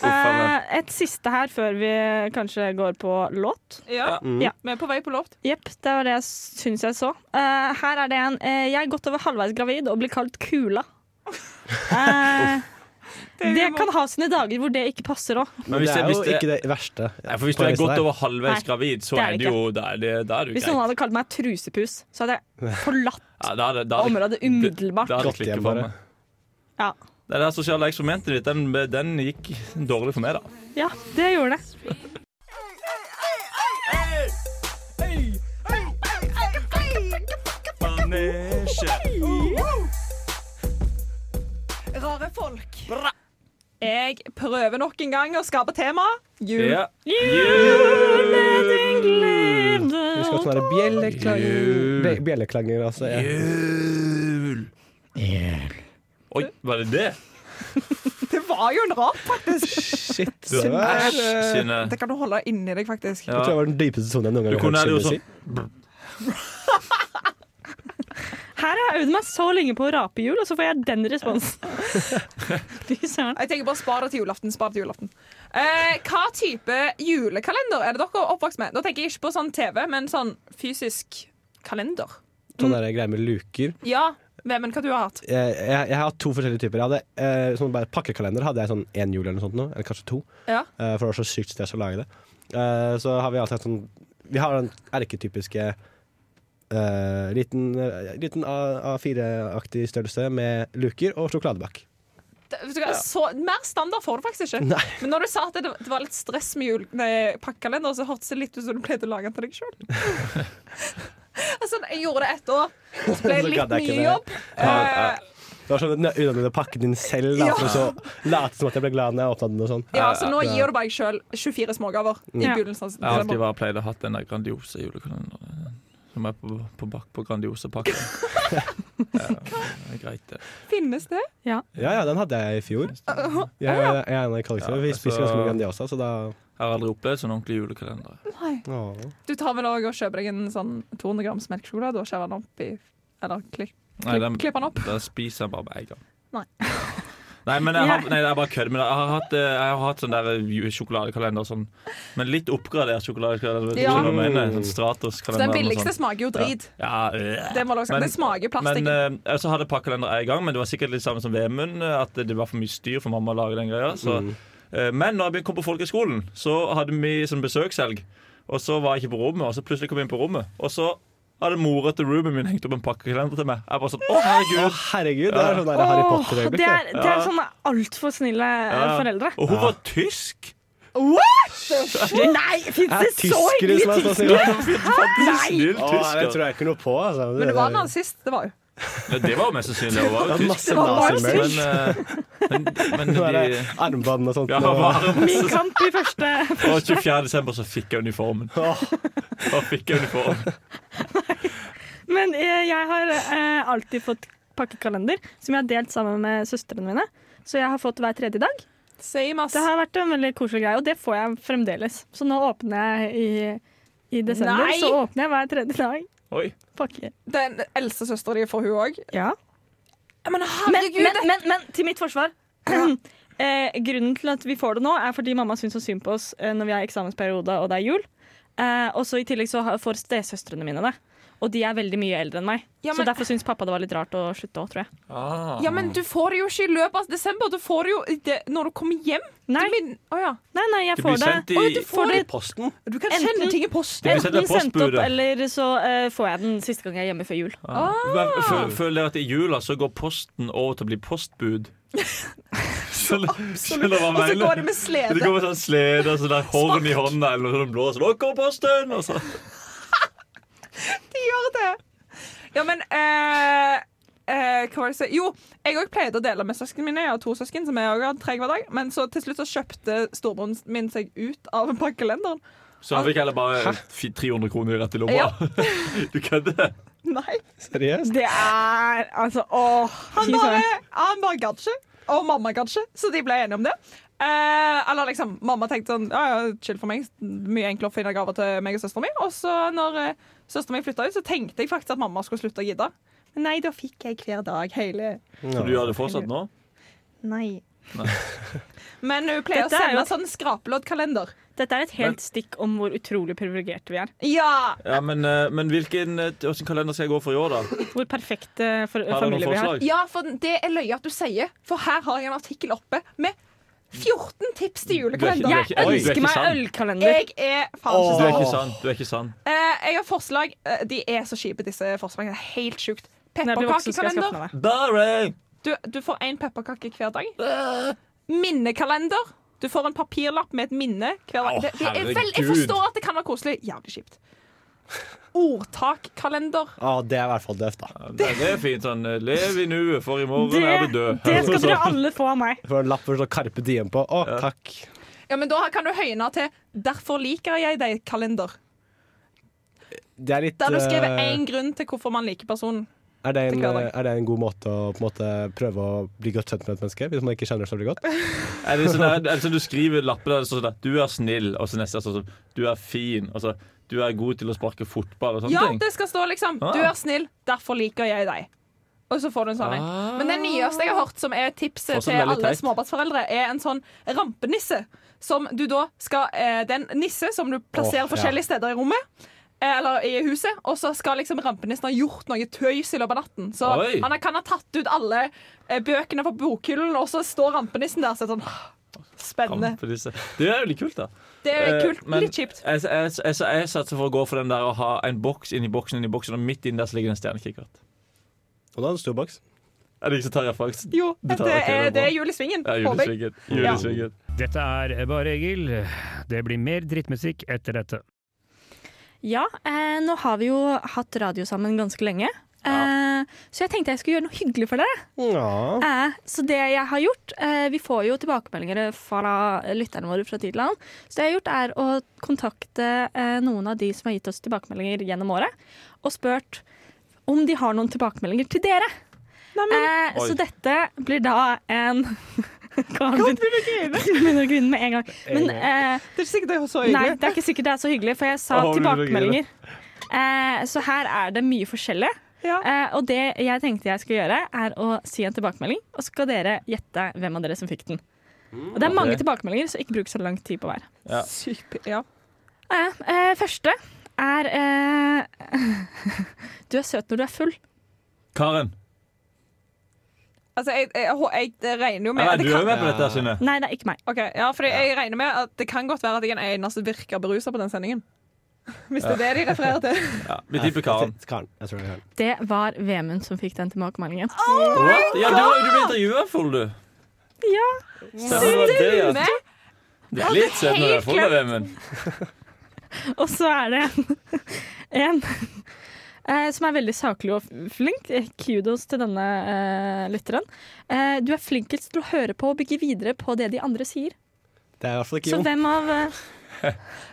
Speaker 5: Eh, et siste her før vi kanskje går på låt.
Speaker 4: Ja.
Speaker 5: Ja.
Speaker 4: Vi er på vei på lovt.
Speaker 5: Jepp, det var det jeg syns jeg så. Eh, her er det en. eh, jeg er godt over halvveis gravid og blir kalt Kula. Eh, det kan ha sine dager hvor det ikke passer òg.
Speaker 2: Men
Speaker 7: Det
Speaker 2: hvis,
Speaker 7: er
Speaker 2: jeg, hvis,
Speaker 7: jo
Speaker 2: det,
Speaker 7: ikke det verste.
Speaker 2: Nei, for hvis
Speaker 7: på
Speaker 2: du er
Speaker 7: reisen
Speaker 2: godt
Speaker 7: her.
Speaker 2: over halvveis
Speaker 5: Nei,
Speaker 2: gravid, så
Speaker 5: det er
Speaker 2: er
Speaker 5: det
Speaker 2: det jo Da er det da er det jo
Speaker 5: Hvis
Speaker 2: greit.
Speaker 5: noen hadde kalt meg trusepus, så hadde jeg forlatt
Speaker 2: Ja, da er det, da er det,
Speaker 5: området umiddelbart.
Speaker 2: da er det
Speaker 7: Godt
Speaker 2: klikker
Speaker 7: hjem,
Speaker 2: for
Speaker 7: bare.
Speaker 2: meg.
Speaker 5: Ja.
Speaker 2: Det der sosiale eksperimentet ditt, den, den gikk dårlig for meg, da.
Speaker 5: ja, det gjorde det.
Speaker 4: Rare folk. Jeg prøver nok en gang å skape tema. Jul.
Speaker 2: Ja.
Speaker 7: Vi skal ha sånne der bjelleklanger. Be- Bjelleklanger, altså. Ja.
Speaker 2: Jul. Oi, var det det?
Speaker 4: Det var jo en rar, faktisk.
Speaker 7: Shit.
Speaker 2: Du-
Speaker 7: Det var,
Speaker 2: Æsj,
Speaker 7: eh,
Speaker 2: Synne.
Speaker 4: Det kan du holde inni deg, faktisk.
Speaker 7: Jeg tror det var den dypeste sonen jeg noen gang
Speaker 2: Du
Speaker 7: har
Speaker 2: kunne
Speaker 7: hørt
Speaker 2: hatt jo
Speaker 7: Synne si.
Speaker 2: sånn
Speaker 5: Her har jeg øvd meg så lenge på å rape hjul, og så får jeg den responsen. Fy søren.
Speaker 4: Jeg tenker bare spar det til julaften. spar det til julaften. Eh, hva type julekalender er det dere er oppvokst med? Da tenker jeg ikke på sånn TV, men sånn fysisk kalender.
Speaker 7: Sånn der greie med luker.
Speaker 4: Ja, Vemund, hva du har hatt?
Speaker 7: Jeg, Eh, jeg, jeg har hatt to forskjellige typer. Jeg hadde eh, sånn bare Pakkekalender hadde jeg sånn én jul eller noe sånt nå, eller kanskje to.
Speaker 4: Ja.
Speaker 7: eh, for det var så sykt stress å lage det. Eh, så har vi alltid hatt sånn Vi har den erketypiske eh, liten, eh, liten A- A4-aktig størrelse med luker og sjokoladebakk.
Speaker 4: Det, vet du hva, så, mer standard får du faktisk ikke.
Speaker 7: Nei.
Speaker 4: Men når du sa at det, det var litt stress med jul, nei, pakkekalender, så hørtes det litt ut som du pleide å lage den til deg sjøl. altså, jeg gjorde det ett år. Det ble
Speaker 7: Så gadd
Speaker 4: litt
Speaker 7: jeg ikke
Speaker 4: mye
Speaker 7: det.
Speaker 4: jobb. Eh,
Speaker 7: Det var sånn at jeg unna pakken din selv, da,
Speaker 4: Ja.
Speaker 7: for så late som at jeg ble glad når jeg åpna den. og sånn
Speaker 4: ja, så nå gir du bare deg sjøl 24 smågaver i
Speaker 5: Ja.
Speaker 4: begynnelsen. av
Speaker 2: Jeg har alltid
Speaker 4: desember.
Speaker 2: bare pleid å ha den der Grandiosa julekalenderen. Som er på, på bak på Grandiosa-pakken. ja, det er greit, det.
Speaker 4: Finnes det?
Speaker 7: Ja, ja, den hadde jeg i fjor. Jeg, jeg, jeg er en av karakterene. Vi
Speaker 2: Ja,
Speaker 7: spiser
Speaker 2: altså-
Speaker 7: ganske mye Grandiosa, så da
Speaker 2: Jeg har aldri opplevd sånn ordentlig julekalender.
Speaker 4: Nei.
Speaker 7: Åh.
Speaker 4: Du tar vel òg og kjøper deg en sånn 200 grams melkesjokolade og skjærer den opp i Eller kli-
Speaker 2: Nei, den,
Speaker 4: klipper den opp.
Speaker 2: Da spiser jeg bare med en gang.
Speaker 5: Nei.
Speaker 2: Nei, men jeg, har, nei, jeg bare kødder med det. Jeg har hatt, eh, jeg har hatt sånn der ju- sjokoladekalender, sånn, men litt oppgradert sjokoladekalender. Vet du
Speaker 4: Ja.
Speaker 2: hva jeg mener? Sånn
Speaker 4: Så
Speaker 2: Stratos-kalender.
Speaker 4: den
Speaker 2: med
Speaker 4: billigste
Speaker 2: sånn.
Speaker 4: smaker jo drit.
Speaker 2: Ja, øh.
Speaker 4: Det må du også-
Speaker 2: Men-
Speaker 4: Den smaker plastikk.
Speaker 2: Men eh, jeg så hadde pakkekalender én gang, men det var sikkert litt samme som Vemund. eh, At det var for mye styr for mamma å lage den greia. Så. Eh, Men når jeg begynte- kom på folkehøyskolen, så hadde vi sånn besøkshelg. Og så var jeg ikke på rommet, og så plutselig kom jeg inn på rommet. Og så hadde mora til roomien min hengt opp en pakkekalender til meg. Jeg bare sånn, å herregud
Speaker 7: Å, herregud, det er sånn der Harry
Speaker 5: Åh,
Speaker 7: Potter-øyeblikk.
Speaker 5: det
Speaker 7: det.
Speaker 5: er, det er sånne altfor snille eh,
Speaker 2: Ja.
Speaker 5: foreldre.
Speaker 2: Og hun var tysk!
Speaker 5: Nei, fins
Speaker 7: Er tyskere som er sånn, så snille? altså.
Speaker 2: Snill
Speaker 7: Å, det
Speaker 2: tysker.
Speaker 7: tror jeg ikke noe på. Altså.
Speaker 4: Men det var en nazist, det var jo.
Speaker 2: Ja, det var jo mest sannsynlig. Hun var
Speaker 7: Det
Speaker 2: jo
Speaker 7: var
Speaker 2: tysk.
Speaker 7: masse
Speaker 4: var bare
Speaker 2: Men,
Speaker 7: nazimenn.
Speaker 2: eh, men, men
Speaker 7: Det var
Speaker 2: de
Speaker 7: Armbånd og sånt.
Speaker 2: ja,
Speaker 7: og-
Speaker 2: bare,
Speaker 5: Min kamp i første
Speaker 2: Og 24. desember så fikk jeg uniformen.
Speaker 7: Åh,
Speaker 2: Da fikk jeg uniformen.
Speaker 5: Men eh, jeg har eh, alltid fått pakkekalender som jeg har delt sammen med søstrene mine. Så jeg har fått hver tredje dag.
Speaker 4: Same ass.
Speaker 5: Det har vært en veldig koselig greie, og det får jeg fremdeles. Så nå åpner jeg i, i desember.
Speaker 4: Nei!
Speaker 5: Så åpner jeg hver tredje dag
Speaker 2: Oi.
Speaker 5: pakker.
Speaker 4: Den eldste søstera di får hun òg.
Speaker 5: Ja.
Speaker 4: Men
Speaker 5: Men,
Speaker 4: herregud!
Speaker 5: men, men, men til mitt forsvar. eh, grunnen til at vi får det nå, er fordi mamma syns så synd på oss eh, når vi har eksamensperiode og det er jul. Eh, og så i tillegg så har- får stesøstrene mine det. Og de er veldig mye eldre enn meg.
Speaker 4: Ja,
Speaker 5: Så
Speaker 4: men-
Speaker 5: derfor syns pappa det var litt rart å slutte òg, tror jeg.
Speaker 2: Ah.
Speaker 4: Ja, men du får det jo ikke i løpet av desember. Du får det jo i det, når du kommer hjem.
Speaker 5: Nei,
Speaker 4: Du, min, Å ja.
Speaker 5: nei, nei jeg
Speaker 2: Det
Speaker 5: får
Speaker 2: blir
Speaker 5: det.
Speaker 2: sendt i-
Speaker 5: Oi, du får det
Speaker 7: posten.
Speaker 4: du kan
Speaker 5: Enten-
Speaker 4: sende ting i posten.
Speaker 2: blir sendt i
Speaker 5: enten sendt opp,
Speaker 2: postbudet.
Speaker 5: eller så eh, får jeg den siste gang jeg er hjemme før jul.
Speaker 2: Ah. Men fø- Føler dere at i jula så går posten over til å bli postbud? Absolutt.
Speaker 4: Og så går det med
Speaker 2: Det
Speaker 4: slede.
Speaker 2: går med sånn slede og sånn der horn i hånda eller noe sånt blåser. Nå kommer posten! Og så.
Speaker 4: De gjør det. Ja, men eh, eh, Hva var det jeg sa? Jo, jeg òg pleide å dele med søsknene mine. Jeg har to søsken som jeg også har tre hver dag. Men så til slutt så kjøpte storebroren min seg ut av pakkekalenderen.
Speaker 2: så han fikk heller bare fi- 300 kroner rett i lomma. Du kødder?
Speaker 4: Nei.
Speaker 7: Seriøst?
Speaker 5: Det er altså åh.
Speaker 4: Han bare, han bare gadd ikke. Og mamma gadd ikke, så de ble enige om det. Eh, eller liksom, Mamma tenkte sånn ja, ja, chill for meg. Mye enklere å finne gaver til meg og søsteren min. Og så når eh, søsteren min flytta ut, så tenkte jeg faktisk at mamma skulle slutte å gidde. Men nei, da fikk jeg hver dag hele
Speaker 2: Så du gjør det fortsatt nå?
Speaker 5: Nei.
Speaker 4: Men hun pleier å
Speaker 5: Dette er
Speaker 4: sende
Speaker 5: jo-
Speaker 4: sånn skrapeloddkalender.
Speaker 5: Dette er et helt stikk om hvor utrolig privilegerte vi er.
Speaker 4: Ja!
Speaker 2: Ja, men, eh, men hvilken eh, hvilken kalender skal jeg gå for i år, da?
Speaker 5: Hvor perfekte for,
Speaker 2: Har du
Speaker 5: familie
Speaker 2: noen
Speaker 5: vi har.
Speaker 2: forslag?
Speaker 4: ja, for det er løye at du sier, for her har jeg en artikkel oppe med 14 tips til
Speaker 2: Du er
Speaker 4: julekalender.
Speaker 5: Jeg
Speaker 2: ikke- Oi, du er
Speaker 5: ønsker
Speaker 2: ikke
Speaker 5: meg
Speaker 2: sann.
Speaker 5: ølkalender.
Speaker 4: Jeg er faen
Speaker 2: Du er
Speaker 4: ikke
Speaker 2: ikke
Speaker 4: sånn.
Speaker 2: sann. Du er ikke sann.
Speaker 4: Jeg har forslag. Eh, De er så kjipe, disse forslagene. Det er Helt sjukt.
Speaker 5: Når jeg blir voksen, skal jeg skaffe
Speaker 4: Pepperkakekalender.
Speaker 5: meg det.
Speaker 2: Boring!
Speaker 4: Du, du får én pepperkake hver dag. Minnekalender. Du får en papirlapp med et minne hver dag.
Speaker 2: Å,
Speaker 4: Det, det er vel, jeg
Speaker 2: herregud.
Speaker 4: forstår at det kan være koselig. Jævlig kjipt. Ordtakkalender.
Speaker 7: Å, det er i hvert fall døvt, da.
Speaker 2: Ja, Det det er fint sånn. eh, Lev i nuet, for i morgen er du
Speaker 5: Det,
Speaker 2: død.
Speaker 5: det skal dere alle få av meg.
Speaker 7: For en lapp hvor det står Karpe Diem på. Å, takk.
Speaker 4: Ja, men Da kan du høyne til 'Derfor liker jeg deg'-kalender.
Speaker 7: Det er litt
Speaker 4: Der du skriver
Speaker 7: eh,
Speaker 4: én grunn til hvorfor man liker personen.
Speaker 7: er, det en, eh,
Speaker 4: til hver dag.
Speaker 7: er det en god måte å på en måte, prøve å bli godt kjent med et menneske? Hvis man ikke kjenner det så veldig godt?
Speaker 2: Er det sånn, er det sånn du skriver lapper der det står sånn at 'du er snill', og så neste er sånn sånn 'du er fin', og så 'du er god til å sparke fotball' og sånne
Speaker 4: Ja,
Speaker 2: ting?
Speaker 4: det skal stå liksom
Speaker 2: Ah.
Speaker 4: 'Du er snill, derfor liker jeg deg'. Og så får du en sånn en. Men den nyeste jeg har hørt, som er tipset
Speaker 2: Fortsatt
Speaker 4: til
Speaker 2: Ah. veldig
Speaker 4: alle
Speaker 2: teit.
Speaker 4: småbarnsforeldre, er en sånn rampenisse. Som du da skal eh, Det er en nisse som du plasserer
Speaker 7: Åh, ja.
Speaker 4: forskjellige steder i rommet. eh, Eller i huset, og så skal liksom rampenissen ha gjort noe tøys i løpet av natten. Så
Speaker 2: Oi.
Speaker 4: han kan ha tatt ut alle eh, bøkene fra bokhyllen, og så står rampenissen der og så er det sånn «Åh, Spennende.
Speaker 2: Rampe disse. Det er jo litt kult, da.
Speaker 4: Det er
Speaker 2: Eh,
Speaker 4: kult,
Speaker 2: men-
Speaker 4: litt kjipt.
Speaker 2: Jeg, jeg, jeg, jeg satser for å gå for den der å ha en boks inni boksen, inni boksen, og midt inni der så ligger det en stjernekikkert.
Speaker 7: Og da er det en stor boks.
Speaker 2: Er det ikke så Tarjei Franks?
Speaker 4: Jo,
Speaker 2: Du
Speaker 4: det
Speaker 2: tar- ok,
Speaker 4: er,
Speaker 2: det er
Speaker 4: det
Speaker 2: bra.
Speaker 4: er julesvingen.
Speaker 2: Ja,
Speaker 4: håper jeg.
Speaker 2: julesvingen. julesvingen.
Speaker 8: Dette er Bare Egil. Det blir mer drittmusikk etter dette.
Speaker 5: Ja, eh, nå har vi jo hatt radio sammen ganske lenge. Eh, så jeg tenkte jeg skulle gjøre noe hyggelig for dere.
Speaker 7: Ja.
Speaker 5: Eh, så det jeg har gjort eh, Vi får jo tilbakemeldinger fra lytterne våre fra tid til annen. Så det jeg har gjort, er å kontakte eh, noen av de som har gitt oss tilbakemeldinger gjennom året, og spurt om de har noen tilbakemeldinger til dere. Eh,
Speaker 2: Oi.
Speaker 5: så dette blir da en Kan begynne å grine. Begynner å grine med en gang. Men eh,
Speaker 4: Det er ikke sikkert det er så
Speaker 5: nei,
Speaker 4: hyggelig.
Speaker 5: det er ikke sikkert det er så hyggelig, for jeg sa
Speaker 2: Å, begynner å grine.
Speaker 5: tilbakemeldinger. Eh, så her er det mye forskjellig.
Speaker 4: Ja.
Speaker 5: Eh, og det jeg tenkte jeg skulle gjøre, er å si en tilbakemelding, og så skal dere gjette hvem av dere som fikk den. Og det er mange
Speaker 2: Ok.
Speaker 5: tilbakemeldinger, så ikke bruk så lang tid på hver.
Speaker 2: Ja.
Speaker 4: Sykt, ja.
Speaker 5: Eh, eh, første er eh, Du er søt når du er full.
Speaker 2: Karen,
Speaker 4: Altså, jeg, jeg, jeg, jeg regner jo med
Speaker 2: er
Speaker 4: at det
Speaker 2: du er jo
Speaker 4: kan,
Speaker 2: med på dette, Synne?
Speaker 5: Nei, det er ikke meg.
Speaker 4: Ok, ja, fordi jeg regner med at det kan godt være at jeg er den eneste som virker berusa på den sendingen. Hvis det er det de refererer til.
Speaker 2: Ja, vi tipper Karen.
Speaker 7: Jeg, Karen. jeg tror det er Karen.
Speaker 5: Det var Vemund som fikk den tilbakemeldingen.
Speaker 4: Ah.
Speaker 2: What? Ja, du, du ble intervjua, full, du.
Speaker 5: Ja.
Speaker 2: Stemmer det var det, ja.
Speaker 4: Med
Speaker 2: Det er litt søtt når du er full, da, Vemund.
Speaker 5: Og så er det en, en eh, som er veldig saklig og flink. Eh, Kudos til denne eh, lytteren. Eh, du er flinkest til å høre på og bygge videre på det de andre sier.
Speaker 7: Det er i hvert fall ikke
Speaker 5: Så
Speaker 7: Jon.
Speaker 5: hvem av eh,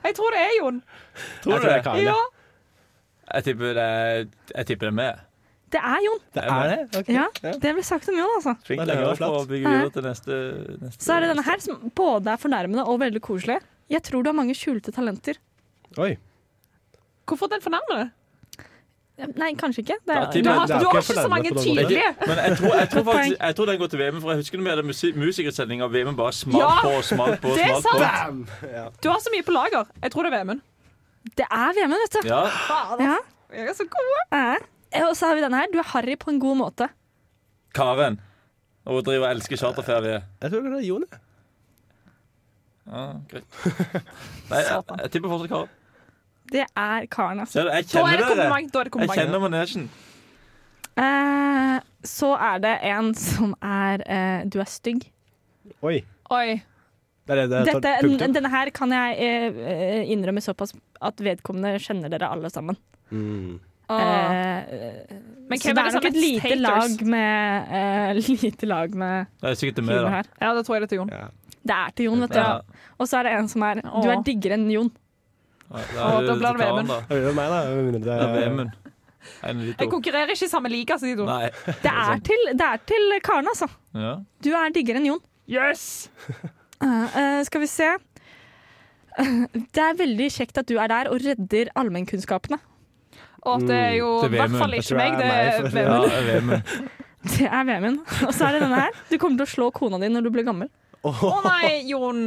Speaker 4: Jeg tror det er Jon.
Speaker 7: Jeg
Speaker 2: Tror du
Speaker 7: tror det er
Speaker 2: det?
Speaker 7: Karen.
Speaker 4: Ja.
Speaker 7: Ja.
Speaker 2: Jeg tipper det er- jeg tipper det er med.
Speaker 5: Det er Jon.
Speaker 7: Det er det? Ok.
Speaker 5: Ja, det ble sagt om Jon, altså.
Speaker 2: Flink
Speaker 7: Det er lenge
Speaker 2: til å
Speaker 7: og flatt.
Speaker 2: få bygge videre til neste, neste
Speaker 5: Så er det denne her, som både er fornærmende og veldig koselig. Jeg tror du har mange skjulte talenter.
Speaker 7: Oi.
Speaker 4: Hvorfor den fornærmede?
Speaker 5: Nei, kanskje ikke. Det
Speaker 2: Ja,
Speaker 5: er,
Speaker 2: til-
Speaker 4: Du har, Altså,
Speaker 7: Det er
Speaker 4: du har
Speaker 7: ikke
Speaker 4: ikke så
Speaker 7: fornærmet
Speaker 4: mange
Speaker 7: på den måten.
Speaker 4: tydelige.
Speaker 2: Men jeg tror, jeg, tror
Speaker 5: Godt
Speaker 2: faktisk, jeg tror den går til VM, for jeg husker når vi hadde musi- musikersending, og VM bare smalt
Speaker 4: Ja,
Speaker 2: på og smalt på. og
Speaker 4: det er
Speaker 2: smalt på.
Speaker 4: Du har så mye på lager. Jeg tror det er Vemund.
Speaker 5: det er VM, vet du.
Speaker 2: Ja,
Speaker 5: Ja.
Speaker 4: Jeg er så god.
Speaker 5: Eh, Og så har vi denne her. Du er harry på en god måte.
Speaker 2: Karen. Og hun driver og elsker charterferie.
Speaker 7: Jeg tror det er Jon, jeg.
Speaker 2: Ja, greit. Nei, jeg, jeg tipper fortsatt Karen.
Speaker 5: Det er karen, altså.
Speaker 2: Ser du, jeg
Speaker 4: Da er
Speaker 2: kjenner
Speaker 4: det
Speaker 2: dere.
Speaker 4: kompliment. Da er det
Speaker 2: Jeg
Speaker 4: kompliment.
Speaker 2: kjenner manesjen.
Speaker 5: Eh, så er det en som er eh, Du er stygg.
Speaker 7: Oi.
Speaker 4: Oi.
Speaker 7: Det er det det
Speaker 5: Dette,
Speaker 7: tar punktum.
Speaker 5: denne her kan jeg eh, innrømme såpass at vedkommende kjenner dere alle sammen.
Speaker 7: Mm.
Speaker 4: Åh.
Speaker 5: Eh,
Speaker 4: Men
Speaker 5: så det
Speaker 4: hvem er det
Speaker 5: er
Speaker 4: som
Speaker 5: nok
Speaker 4: er
Speaker 5: et lite
Speaker 4: haters?
Speaker 5: lag med, eh, lite lag med
Speaker 2: Det er sikkert det med,
Speaker 5: humor
Speaker 2: da.
Speaker 5: her.
Speaker 4: Ja, da tror jeg det er til Jon.
Speaker 7: Ja.
Speaker 5: Det er til Jon, vet du.
Speaker 2: Ja.
Speaker 5: Og så er det en som er Du er
Speaker 4: Åh.
Speaker 5: diggere enn Jon.
Speaker 2: Ja,
Speaker 4: Å, da blir det
Speaker 2: Karen,
Speaker 4: Vemund.
Speaker 2: da.
Speaker 7: Det blir jo meg, da. Med mindre
Speaker 2: Det er
Speaker 7: det er
Speaker 2: Vemund. En av de
Speaker 4: Jeg
Speaker 2: to.
Speaker 4: konkurrerer ikke i samme liga som de to.
Speaker 2: Nei.
Speaker 5: Det er til, det er til Karen, altså.
Speaker 2: Ja.
Speaker 5: Du er diggere enn Jon.
Speaker 4: Yes!
Speaker 5: Eh, eh, skal vi se. Det er veldig kjekt at du er der og redder allmennkunnskapene.
Speaker 4: Og det er jo
Speaker 2: Til
Speaker 4: i hvert
Speaker 2: Vemund.
Speaker 4: fall
Speaker 7: Jeg
Speaker 4: ikke
Speaker 7: tror
Speaker 4: meg.
Speaker 7: det
Speaker 4: Det
Speaker 7: er meg,
Speaker 4: er
Speaker 7: for-
Speaker 2: Ja,
Speaker 4: Vemund.
Speaker 2: Vemund.
Speaker 5: Det er VM-en. Og så er det denne her. Du kommer til å slå kona di når du blir gammel.
Speaker 4: Å nei, Jon.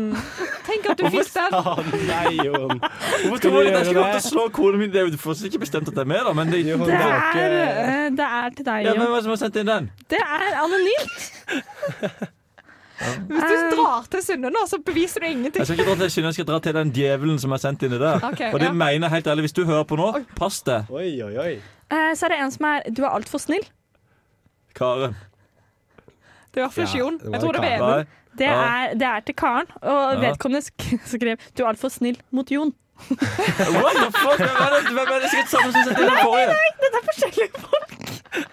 Speaker 4: Tenk at du fikk den.
Speaker 7: Å nei, Jon.
Speaker 2: Hvorfor
Speaker 7: Skal
Speaker 2: tror
Speaker 7: vi
Speaker 2: jeg jeg
Speaker 7: gjøre
Speaker 2: skulle lov til
Speaker 7: det?
Speaker 2: å slå kona mi? Det er jo for ikke bestemt at det er med, da, men det,
Speaker 7: Jon,
Speaker 5: Det
Speaker 7: det var
Speaker 5: er,
Speaker 7: ikke-
Speaker 5: eh, det er til deg,
Speaker 2: ja, men
Speaker 5: Jon.
Speaker 2: Hvem er det som har sendt inn den?
Speaker 5: Det er anonymt.
Speaker 4: Hvis du drar til Sunne nå, så beviser du
Speaker 2: Jeg
Speaker 4: ingenting.
Speaker 2: skal ikke dra til Kina, jeg skal dra til den djevelen som har sendt inn det der.
Speaker 4: Ok,
Speaker 2: Og det
Speaker 4: ja.
Speaker 2: mener jeg helt ærlig, hvis du hører på nå, pass deg,
Speaker 7: Oi, oi, oi.
Speaker 5: Eh, Så er det en som er Du er altfor snill.
Speaker 2: Karen.
Speaker 4: Det er i hvert fall ikke Jon.
Speaker 7: det var
Speaker 4: Jeg tror det er
Speaker 2: Nei.
Speaker 4: Vemund.
Speaker 5: Det
Speaker 2: Ja.
Speaker 5: er, det er til Karen. Og
Speaker 2: Ja.
Speaker 5: vedkommende sk- skrev Du er altfor snill mot Jon.
Speaker 2: What the fuck? Hvem er det, hvem er det sikkert samme som sendte inn den forrige?
Speaker 5: Det er forskjellige folk.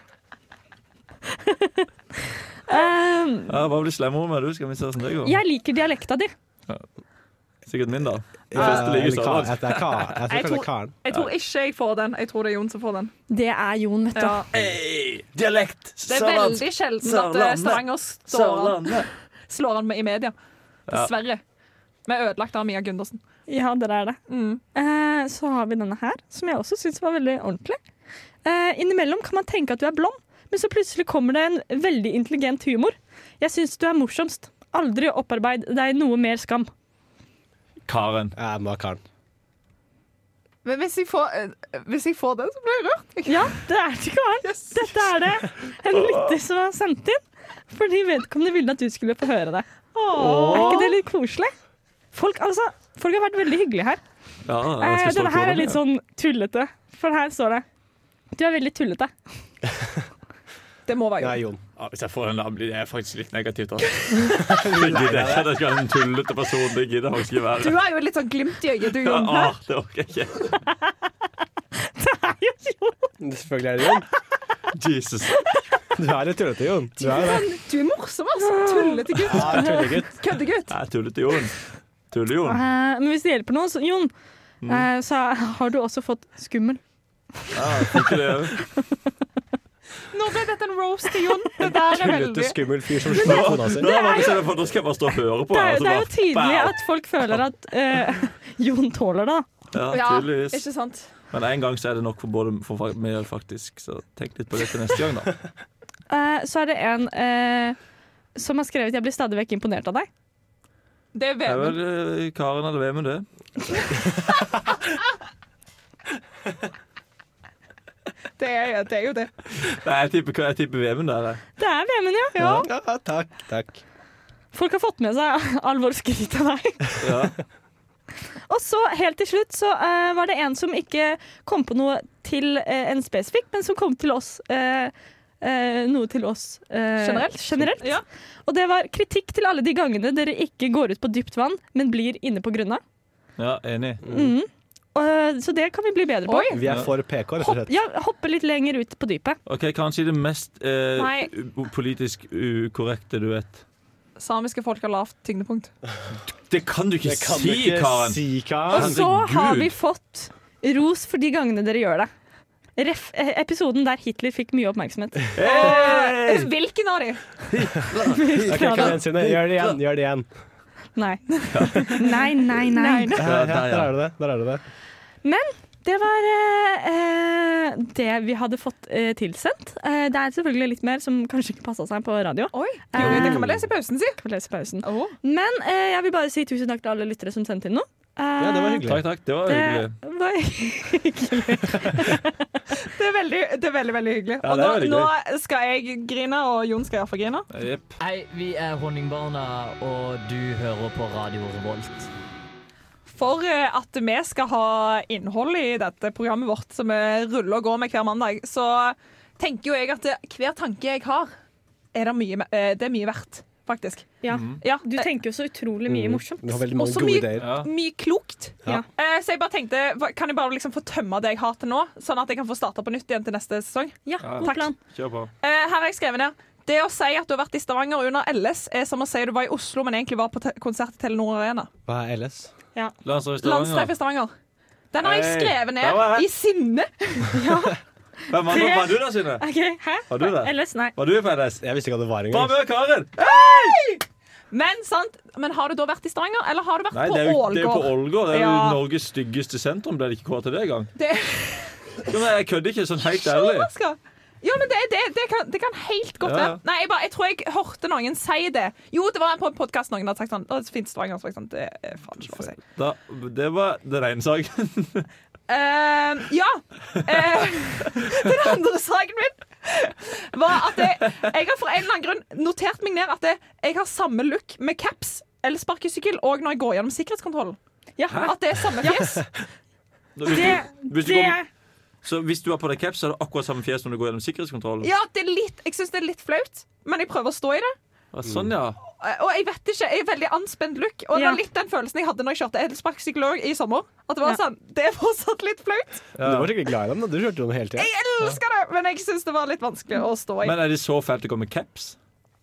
Speaker 5: Eh,
Speaker 2: Ja, bare bli slemmere med du, skal vi se hvordan det går.
Speaker 5: jeg liker dialekta di.
Speaker 2: Sikkert min, da. De
Speaker 7: Ja,
Speaker 2: fleste liker
Speaker 7: eller Eh, Karen.
Speaker 2: sammen.
Speaker 4: Jeg
Speaker 7: Jeg tror Karen. Jeg tror kanskje
Speaker 4: tror-
Speaker 7: Karen.
Speaker 4: Jeg tror ikke jeg får den. Jeg tror det er Jon som får den.
Speaker 5: Det er Jon, vet du.
Speaker 4: Ja.
Speaker 2: Hey, dialekt!
Speaker 4: Det er veldig sjelden at eh,
Speaker 2: Sørlandet.
Speaker 4: Stavanger står an,
Speaker 2: Sørlandet.
Speaker 4: slår han med i media. Dessverre. Vi er ødelagt av Mia Gundersen.
Speaker 5: Ja, dere er det.
Speaker 4: Mm.
Speaker 5: Eh, så har vi denne her, som jeg også syns var veldig ordentlig. Eh, innimellom kan man tenke at du er blond, men så plutselig kommer det en veldig intelligent humor. Jeg syns du er morsomst. Aldri opparbeid deg noe mer skam.
Speaker 2: Karen.
Speaker 7: Jeg må ha Karen.
Speaker 4: Men hvis jeg, får, eh, hvis jeg får den, så blir jeg rørt. Jeg-
Speaker 5: Ja, det er til Karen. Dette er det en lytter som har sendt inn. Fordi vedkommende ville at du skulle få høre det. Er ikke det litt koselig? Folk, altså, folk har vært veldig hyggelige her.
Speaker 2: Ja, jeg
Speaker 5: Eh,
Speaker 2: skal slå
Speaker 5: denne her
Speaker 2: kona
Speaker 5: er
Speaker 2: mi,
Speaker 5: litt
Speaker 2: ja.
Speaker 5: sånn tullete. For her står det Du er veldig tullete.
Speaker 4: Det må være
Speaker 7: Nei,
Speaker 4: Jon.
Speaker 7: Jon.
Speaker 2: Ja, hvis jeg får en navn, det er faktisk litt negativt. Altså. Jeg gidder ikke. Det skal være en tullete person. Det gidder jeg faktisk ikke
Speaker 4: Du
Speaker 2: være.
Speaker 4: har jo litt sånn glimt i øyet, du,
Speaker 2: Ja,
Speaker 4: Jon.
Speaker 2: ah, det orker jeg ikke.
Speaker 7: Selvfølgelig er det Jon.
Speaker 2: Jesus.
Speaker 7: Du er litt tullete, Jon. Du er det.
Speaker 4: Du er morsom, altså. Tullete gutt.
Speaker 7: Ja, tullegutt.
Speaker 4: Køddegutt.
Speaker 2: Jeg er tullete Jon. Tulle-Jon.
Speaker 5: Eh, men hvis det hjelper noen, så, Jon, eh, så har du også fått skummel.
Speaker 2: Ja, jeg fikk det òg.
Speaker 4: Nå ble dette en roast til Jon. Det der er
Speaker 7: Tullete,
Speaker 4: veldig
Speaker 7: skummel fyr som slår kona si.
Speaker 2: Nå var det sånn at- nå skal jeg bare stå og høre på.
Speaker 5: Det er,
Speaker 2: altså,
Speaker 5: det er jo
Speaker 2: bare-
Speaker 5: tydelig
Speaker 2: Bam!
Speaker 5: at folk føler at eh, Jon tåler det. da.
Speaker 2: Ja,
Speaker 4: Ja,
Speaker 2: tydeligvis.
Speaker 4: ikke sant?
Speaker 2: Men en gang så er det nok for både for fa- meg, faktisk. Så tenk litt på det til neste gang, da.
Speaker 5: Eh, så er det en eh, som har skrevet 'Jeg blir stadig vekk imponert av deg'.
Speaker 4: Det er
Speaker 2: Det er
Speaker 4: Vemund.
Speaker 2: vel eh, Karen eller Vemund, det.
Speaker 4: Det, er- det er jo det.
Speaker 2: Nei, jeg tipper, jeg tipper Vemund der. jeg.
Speaker 5: Det er Vemund, ja.
Speaker 7: Ja, takk. takk.
Speaker 5: Folk har fått med seg alvor skryt av deg.
Speaker 2: Ja.
Speaker 5: Og så helt til slutt så eh, var det en som ikke kom på noe til eh, en spesifikk, men som kom til oss. eh, eh, noe til oss eh,
Speaker 4: Generelt?
Speaker 5: generelt.
Speaker 4: Ja.
Speaker 5: Og det var kritikk til alle de gangene dere ikke går ut på dypt vann, men blir inne på grunna.
Speaker 2: ja, enig.
Speaker 7: Mm.
Speaker 5: Eh, så det kan vi bli bedre på.
Speaker 4: Oi.
Speaker 7: Vi er for PK, rett og
Speaker 5: Hopp,
Speaker 7: slett.
Speaker 5: ja, hoppe litt lenger ut på dypet.
Speaker 2: OK, kanskje det mest eh,
Speaker 4: Nei.
Speaker 2: u- politisk ukorrekte du vet.
Speaker 4: Samiske folk har lavt tyngdepunkt.
Speaker 2: Det kan du ikke
Speaker 7: Det kan du
Speaker 2: si,
Speaker 7: ikke
Speaker 2: Karen!
Speaker 7: si,
Speaker 5: Og
Speaker 7: Karen.
Speaker 5: så har
Speaker 2: Herregud.
Speaker 5: vi fått ros for de gangene dere gjør det. Ref, eh, episoden der Hitler fikk mye oppmerksomhet.
Speaker 4: Eh, Hvilken av de?
Speaker 7: Ok, kanadienserne, gjør det igjen. Gjør det igjen.
Speaker 5: Nei. nei, nei, nei.
Speaker 7: Ja,
Speaker 2: der,
Speaker 7: der
Speaker 2: ja.
Speaker 7: er det det. Der er det det.
Speaker 5: Det var eh, eh, det vi hadde fått eh, tilsendt. Eh, det er selvfølgelig litt mer som kanskje ikke passa seg på radio. Eh,
Speaker 4: Oi. Jo, det kan vi lese i pausen, si.
Speaker 5: Kan vi lese i pausen. Men eh, jeg vil bare si tusen takk til alle lyttere som sendte inn noe. Eh,
Speaker 7: Ja, det var hyggelig.
Speaker 2: Takk, takk. Det var hyggelig.
Speaker 5: Det var
Speaker 4: Det er veldig, det er veldig, veldig hyggelig.
Speaker 2: Ja,
Speaker 4: Og
Speaker 2: det
Speaker 4: nå,
Speaker 2: er veldig
Speaker 4: nå skal jeg grine, og Jon skal iallfall grine.
Speaker 2: Jepp.
Speaker 9: Hei, vi er Honningbarna, og du hører på Radio Revolt.
Speaker 4: For eh, at vi skal ha innhold i dette programmet vårt som vi ruller og går med hver mandag, så tenker jo jeg at eh, hver tanke jeg har, er det, mye, eh, det er mye verdt, faktisk.
Speaker 5: ja.
Speaker 2: Mm.
Speaker 4: Ja,
Speaker 5: Du
Speaker 4: eh,
Speaker 5: tenker jo så utrolig mye morsomt.
Speaker 7: Mm. Du har veldig mange
Speaker 4: Også
Speaker 7: gode
Speaker 4: mye-
Speaker 7: ideer.
Speaker 2: Ja.
Speaker 4: mye klokt.
Speaker 5: Ja.
Speaker 4: Eh, Så jeg bare tenkte, hva- kan jeg bare liksom få tømme det jeg har til nå, sånn at jeg kan få starta på nytt igjen til neste sesong?
Speaker 5: Ja, god
Speaker 4: Takk.
Speaker 5: plan.
Speaker 2: Kjør på.
Speaker 4: Eh, Her har jeg skrevet ned. Det å si at du har vært i Stavanger under LS, er som å si du var i Oslo, men egentlig var på te- konsert i Telenor Arena.
Speaker 7: Hva er LS?
Speaker 2: Landstreff
Speaker 4: Landstreif i
Speaker 2: Stavanger.
Speaker 4: Stavanger. Den har jeg
Speaker 2: Hei,
Speaker 4: skrevet
Speaker 2: der var
Speaker 4: ned
Speaker 2: jeg.
Speaker 4: i sinne.
Speaker 2: Hvem andre
Speaker 5: Tre.
Speaker 2: var du der, Synne?
Speaker 5: Ok, Hæ?
Speaker 2: Har du det?
Speaker 5: Ellers, nei.
Speaker 2: Var du i PNS?
Speaker 7: Jeg visste ikke hva det var
Speaker 2: Hva
Speaker 7: engang.
Speaker 2: med Karen?
Speaker 4: Men sant, men har du da vært i Stavanger, eller har du vært
Speaker 2: Nei,
Speaker 4: på
Speaker 2: det er jo, det er jo på
Speaker 4: Ålgård?
Speaker 2: Ålgård. Det er jo
Speaker 4: Ja.
Speaker 2: Norges styggeste sentrum. Ble det ikke kåret til det engang?
Speaker 4: Det er
Speaker 2: Ja, men jeg kødder ikke sånn helt
Speaker 4: ikke
Speaker 2: ærlig.
Speaker 4: overraska. Ja, men det, det, det, kan, det kan helt godt være.
Speaker 2: Ja, ja.
Speaker 4: Nei, jeg, bare, jeg tror jeg hørte noen si det. Jo, det var på en podkast noen hadde sagt sånn. «Å, Det finnes Stavanger som sånn. Det er faen ikke lov å si.
Speaker 2: Da, det var den ene saken.
Speaker 4: Eh, ja. Eh, den andre saken min var at jeg, jeg har for en eller annen grunn notert meg ned at jeg, jeg har samme look med caps eller sparkesykkel òg når jeg går gjennom sikkerhetskontrollen.
Speaker 5: Ja.
Speaker 4: At det er samme fjes.
Speaker 2: Hvis
Speaker 5: Det,
Speaker 2: du, hvis du
Speaker 5: det,
Speaker 2: går, så hvis du har på deg caps, så er det akkurat samme fjes når du går gjennom sikkerhetskontrollen?
Speaker 4: Ja, det er litt, jeg syns det er litt flaut, men jeg prøver å stå i det.
Speaker 2: Ja, Sånn, ja.
Speaker 4: Og jeg vet ikke, jeg er veldig anspent look. Og det
Speaker 5: Ja.
Speaker 4: var litt den følelsen jeg hadde når jeg kjørte elsparkesykkel også i sommer. At det var
Speaker 5: Ja.
Speaker 4: sånn, det er fortsatt litt flaut.
Speaker 7: Du var skikkelig glad i dem. da. Du kjørte jo den hele tida.
Speaker 4: Jeg elsker det, men jeg syns det var litt vanskelig å stå i.
Speaker 2: Men er det så fælt å gå med caps?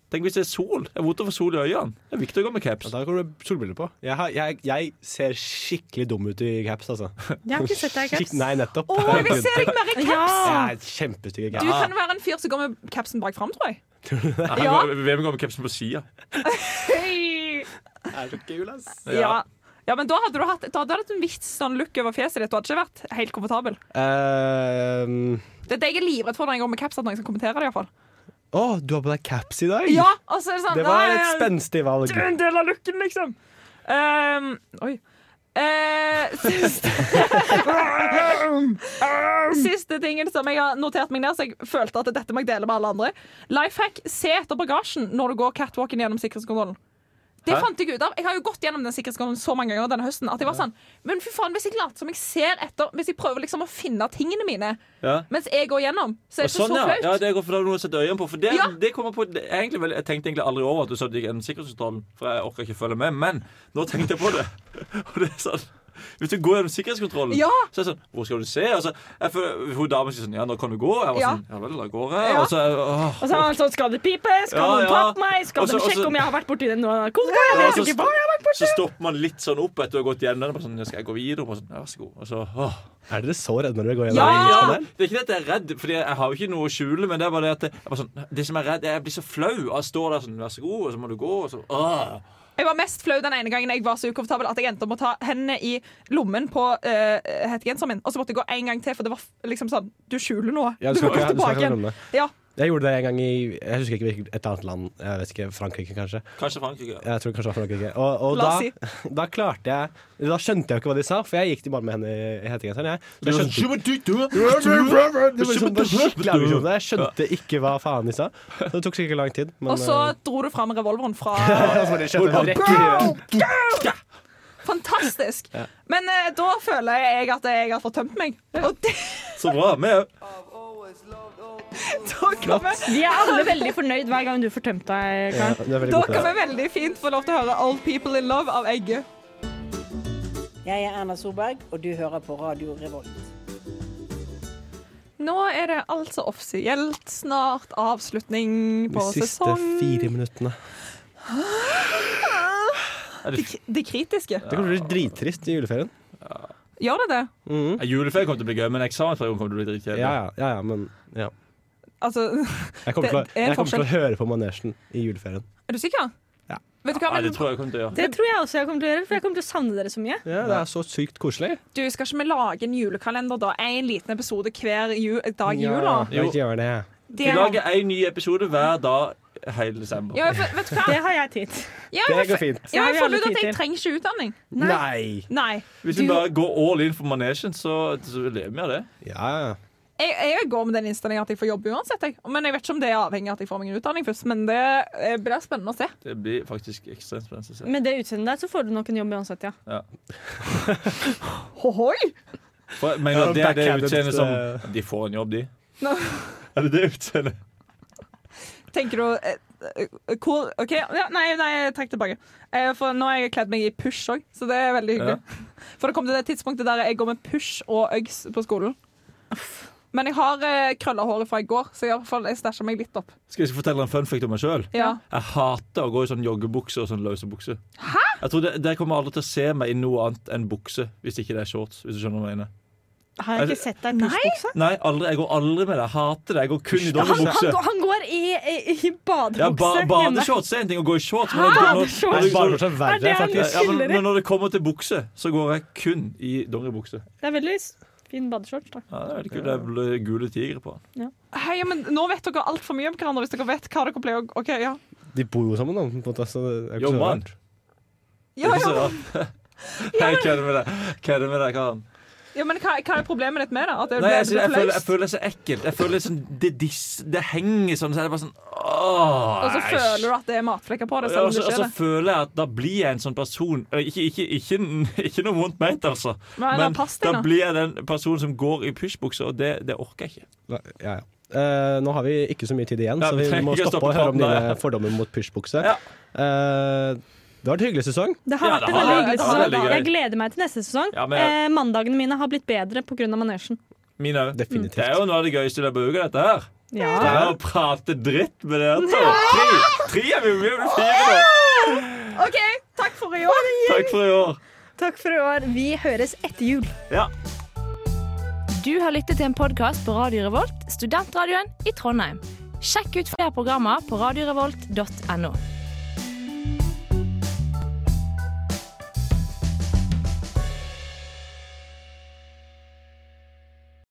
Speaker 2: Tenk hvis det er sol. Det er vondt å få sol i øynene. Det er viktig å gå med
Speaker 7: Ja,
Speaker 2: caps.
Speaker 7: da går du solbriller på. Jeg, har, jeg, jeg ser skikkelig dum ut i caps, altså.
Speaker 5: jeg har ikke sett deg i
Speaker 7: Skikk-
Speaker 5: caps.
Speaker 7: Nei, nettopp.
Speaker 4: Å, jeg vil se deg mer i caps!
Speaker 5: Ja.
Speaker 7: Jeg er kjempestygg i
Speaker 4: Du
Speaker 7: caps.
Speaker 4: kan være en fyr som går med capsen bak fram, tror jeg.
Speaker 2: Ja. Hvem går med capsen på sida?
Speaker 7: Er du kul, ass?
Speaker 4: Ja. ja, men da hadde du hatt Da hadde du hatt en viss sånn look over fjeset ditt. Du hadde ikke vært helt komfortabel.
Speaker 7: Ehm,
Speaker 4: Det er det jeg er livredd for når jeg går med caps, at noen skal kommentere det, iallfall.
Speaker 7: Å, du har på deg caps i dag?
Speaker 4: Ja, og så er det sånn
Speaker 7: Det var
Speaker 4: nei,
Speaker 7: et spenstig valg.
Speaker 4: Det er en del av looken, liksom. Ehm, oi. Eh, siste Siste tingen som jeg har notert meg ned, så jeg følte at dette må jeg dele med alle andre. Lifehack, se etter bagasjen når du går catwalken gjennom sikkerhetskontrollen. Det
Speaker 2: Hæ?
Speaker 4: fant jeg ut av. Jeg har jo gått gjennom den sikkerhetskontrollen så mange ganger denne høsten at jeg var sånn Men fy faen, hvis jeg later som jeg ser etter Hvis jeg prøver liksom å finne tingene mine
Speaker 2: Ja.
Speaker 4: mens jeg går gjennom, så er det ikke
Speaker 2: Sånn,
Speaker 4: så
Speaker 2: ja.
Speaker 4: flaut.
Speaker 2: ja. Det går for da har du noe å sette øynene på. For det,
Speaker 4: Ja.
Speaker 2: det kommer på det, er egentlig, vel- Jeg tenkte egentlig aldri over at du sa at du gikk gjennom sikkerhetskontrollen, for jeg orker ikke følge med, men nå tenkte jeg på det. Og det er sånn hvis du går gjennom sikkerhetskontrollen,
Speaker 4: Ja.
Speaker 2: så er det sånn Hvor skal du se? Og så, jeg føler, hun damen sier sånn Ja, nå kan du gå. Jeg var
Speaker 4: Ja.
Speaker 2: sånn Ja vel, da går jeg.
Speaker 4: Ja.
Speaker 2: Og så åh.
Speaker 5: Og så er han sånn, skal det pipe? Skal
Speaker 2: Ja,
Speaker 5: noen
Speaker 2: ja.
Speaker 5: tappe meg? Skal
Speaker 2: Også-
Speaker 5: de sjekke
Speaker 2: også-
Speaker 5: om jeg har vært borti noe narkotika? Jeg
Speaker 2: Ja,
Speaker 5: vet jo
Speaker 2: så-
Speaker 5: ikke hva jeg har vært borti.
Speaker 2: Så stopper man litt sånn opp etter å ha gått gjennom. og bare Sånn, ja, skal jeg gå videre? Og bare sånn, ja, vær så god. Og så, åh.
Speaker 7: Er dere så redde når dere går
Speaker 4: Ja!
Speaker 7: gjennom
Speaker 2: Ja, Ah!
Speaker 7: inngangskanalen?
Speaker 2: det er ikke det at jeg er redd, Fordi jeg har jo ikke noe å skjule. Men det er bare det at jeg, jeg bare sånn, det som er redd, jeg blir så flau. Og jeg står der sånn, vær så god, og så må du gå. Og så, ah, åh.
Speaker 4: Jeg var mest flau den ene gangen jeg var så ukomfortabel at jeg endte opp med å ta hendene i lommen på uh, hettegenseren min. Og så måtte jeg gå en gang til, for det var f- liksom sånn Du skjuler noe.
Speaker 7: Ja, du skal
Speaker 4: må
Speaker 7: ikke,
Speaker 4: gå
Speaker 7: du skal ikke
Speaker 4: tilbake
Speaker 7: glemme det.
Speaker 4: Ja.
Speaker 7: Jeg gjorde det en gang i Jeg husker ikke hvilket et annet land. Jeg vet ikke, Frankrike, kanskje.
Speaker 2: Kanskje Frankrike.
Speaker 7: Jeg tror kanskje det var Frankrike. Og, og
Speaker 4: La
Speaker 7: da,
Speaker 4: oss
Speaker 7: da klarte jeg Da skjønte jeg jo ikke hva de sa, for jeg gikk til bare med henne i i hettegenseren. Jeg. Så jeg skjønte sånn- Det var liksom bare skikkelig aggresjon. Jeg skjønte ikke hva faen de sa. Så det tok sikkert lang tid. Men,
Speaker 4: Og så
Speaker 7: eh,
Speaker 4: dro du fram revolveren fra
Speaker 7: altså, det skjedde en rekke-
Speaker 4: Go! Go! Fantastisk. Men eh, da føler jeg at jeg har fått tømt meg. Og det,
Speaker 2: Så bra. Med.
Speaker 4: da kommer
Speaker 5: Vi er alle veldig fornøyd hver gang du får tømt deg,
Speaker 7: Ja,
Speaker 5: Karen.
Speaker 7: det er veldig
Speaker 4: da
Speaker 7: godt,
Speaker 4: kan
Speaker 7: ja.
Speaker 4: vi veldig fint få lov til å høre Old People in Love av Egge.
Speaker 10: Jeg er Erna Solberg, og du hører på Radio Revolt.
Speaker 4: Nå er det altså offisielt snart avslutning på
Speaker 7: De siste
Speaker 4: sesong
Speaker 7: fire minuttene.
Speaker 4: De, de kritiske.
Speaker 7: Det kommer til å bli drittrist i juleferien.
Speaker 4: Gjør det det?
Speaker 7: Mhm.
Speaker 2: Ja, Juleferie kommer til å bli gøy, men eksamensperioden kommer til å bli
Speaker 7: Ja,
Speaker 2: dritkjedelig.
Speaker 7: ja, ja, ja, men ja.
Speaker 4: Altså
Speaker 7: Jeg kommer, til å,
Speaker 4: Det er en
Speaker 7: jeg kommer til å høre på manesjen i juleferien.
Speaker 4: Er du sikker?
Speaker 7: Ja.
Speaker 4: Vet du hva,
Speaker 2: Nei,
Speaker 4: men
Speaker 2: det tror jeg jeg kommer til å gjøre.
Speaker 5: Det tror jeg også jeg kommer til å gjøre, for jeg kommer til å savne dere så mye.
Speaker 7: Ja, Det er så sykt koselig.
Speaker 4: du, skal ikke vi lage en julekalender, da? En liten episode hver ju dag i jula?
Speaker 7: Ja, jeg gjør det.
Speaker 4: Det
Speaker 2: Vi lager én ny episode hver dag hele desember.
Speaker 4: ja, for, vet du hva?
Speaker 5: Det har jeg tid til.
Speaker 4: Ja,
Speaker 7: Det
Speaker 4: jeg,
Speaker 7: går fint.
Speaker 4: ja,
Speaker 5: har
Speaker 4: jeg
Speaker 5: vi
Speaker 4: fant
Speaker 5: alle
Speaker 4: ut at
Speaker 5: tid
Speaker 4: jeg
Speaker 5: til.
Speaker 4: trenger ikke utdanning.
Speaker 7: Nei!
Speaker 4: Nei.
Speaker 2: Hvis vi bare går all in for manesjen, så, så lever vi av det.
Speaker 7: Ja,
Speaker 4: Jeg, jeg går med den innstillingen at jeg får jobb uansett. Jeg. Men jeg vet ikke om det er avhengig av at jeg får meg en utdanning først. Men det eh, blir spennende å se.
Speaker 2: Det blir faktisk ekstremt spennende. å se.
Speaker 5: Med det utseendet der så får du nok en jobb uansett, ja.
Speaker 4: Hohoi!
Speaker 2: For, jeg mener,
Speaker 7: Ja,
Speaker 2: det er det
Speaker 7: backhanded,
Speaker 2: utseendet som
Speaker 7: eh.
Speaker 2: De får en jobb, de.
Speaker 4: Nå.
Speaker 2: Er det det utseendet?
Speaker 4: Tenker du eh, eh, hvor- OK, ja, nei, nei, trekk tilbake. Eh, For nå har jeg kledd meg i push òg, så det er veldig hyggelig. For det kom til det tidspunktet der jeg går med push og Uggs på skolen. Men jeg har eh, krølla håret fra i går, så jeg, har i hvert fall- jeg stæsja meg litt opp.
Speaker 2: Skal jeg fortelle en fun fact om meg sjøl?
Speaker 4: Ja.
Speaker 2: Jeg hater å gå i sånn joggebukse og sånn løse bukse. Jeg tror det, Dere kommer aldri til å se meg i noe annet enn bukse, hvis ikke det er shorts. Hvis du skjønner hva jeg mener
Speaker 5: Har jeg ikke sett deg i pushbuksa?
Speaker 2: Nei, aldri, Jeg går aldri med det. Jeg hater det. Jeg går kun i
Speaker 5: Han, han,
Speaker 2: dongeribukse.
Speaker 5: går- han går i, i, i badebukse
Speaker 2: Ja, ba
Speaker 5: hjemme.
Speaker 2: badeshorts er en ting å gå i shorts, men når-
Speaker 5: Badeshorts? Det
Speaker 2: når-
Speaker 7: ja.
Speaker 2: når-
Speaker 7: Bare for
Speaker 5: Er
Speaker 7: så
Speaker 5: det
Speaker 7: verre,
Speaker 5: en-
Speaker 7: faktisk.
Speaker 2: ja, men, men når det kommer til bukse, så går jeg kun i dongeribukse.
Speaker 5: Det er veldig s- fin badeshorts, da.
Speaker 2: Ja, det er veldig kult. Det er blø- gule tigre på den.
Speaker 5: Ja.
Speaker 4: Hei, men nå vet dere altfor mye om hverandre hvis dere vet hva dere pleier å OK, ja.
Speaker 7: De bor jo sammen, da. På en måte, så det er
Speaker 2: Jo,
Speaker 7: ikke så
Speaker 2: mann.
Speaker 7: rart.
Speaker 4: Ja,
Speaker 2: Ikke så
Speaker 4: ja.
Speaker 2: rart. Nei, Hva er det med det? Hva er det med det, Karen?
Speaker 4: ja men hva, hva er problemet ditt med det? At det
Speaker 2: Nei, jeg,
Speaker 4: blir
Speaker 2: synes, jeg, føler, jeg
Speaker 4: flaut?
Speaker 2: føler det så ekkelt. Jeg føler det sånn, det, dis, det henger sånn, så er det bare sånn åh,
Speaker 4: Og så føler du at det er matflekker på det,
Speaker 2: Ja, altså,
Speaker 4: selv
Speaker 2: og
Speaker 4: om
Speaker 2: så,
Speaker 4: det
Speaker 2: og så
Speaker 4: ikke er det.
Speaker 2: føler jeg at da blir jeg en sånn person eh, Ikke, ikke, ikke, ikke noe vondt ment, altså.
Speaker 4: Nei, nei,
Speaker 2: Men
Speaker 4: pass
Speaker 2: da
Speaker 4: deg nå.
Speaker 2: blir jeg den personen som går i pysjbukse, og det, det orker jeg ikke.
Speaker 7: Nei, Ja, ja. Eh, nå har vi ikke så mye tid igjen,
Speaker 2: Ja,
Speaker 7: så
Speaker 2: vi
Speaker 7: vi
Speaker 2: trenger
Speaker 7: må
Speaker 2: ikke
Speaker 7: stoppe
Speaker 2: stoppe
Speaker 7: og høre om
Speaker 2: podden,
Speaker 7: dine
Speaker 2: nei.
Speaker 7: fordommer mot pysjbukse.
Speaker 2: Ja.
Speaker 7: Eh, det har vært en hyggelig sesong.
Speaker 11: Det har
Speaker 2: Ja,
Speaker 11: vært
Speaker 2: det
Speaker 11: en
Speaker 2: har
Speaker 11: veldig hyggelig
Speaker 2: det. Det har
Speaker 11: sesong.
Speaker 2: vært veldig gøy.
Speaker 11: Jeg gleder meg til neste sesong.
Speaker 2: Ja, men-
Speaker 11: eh, mandagene mine har blitt bedre pga. manesjen.
Speaker 2: Mine òg.
Speaker 7: Definitivt.
Speaker 2: Det er jo noe av det gøyeste i denne boka, dette her. Det
Speaker 11: Ja.
Speaker 2: er å prate dritt med dere to. Tre, tre er vi, vi blir fire nå.
Speaker 4: OK, takk for i år.
Speaker 2: Takk for i år.
Speaker 11: Takk for i år. Vi høres etter jul.
Speaker 2: Ja.
Speaker 5: Du har lyttet til en podkast på Radio Revolt, studentradioen i Trondheim. Sjekk ut flere programmer på radiorevolt.no.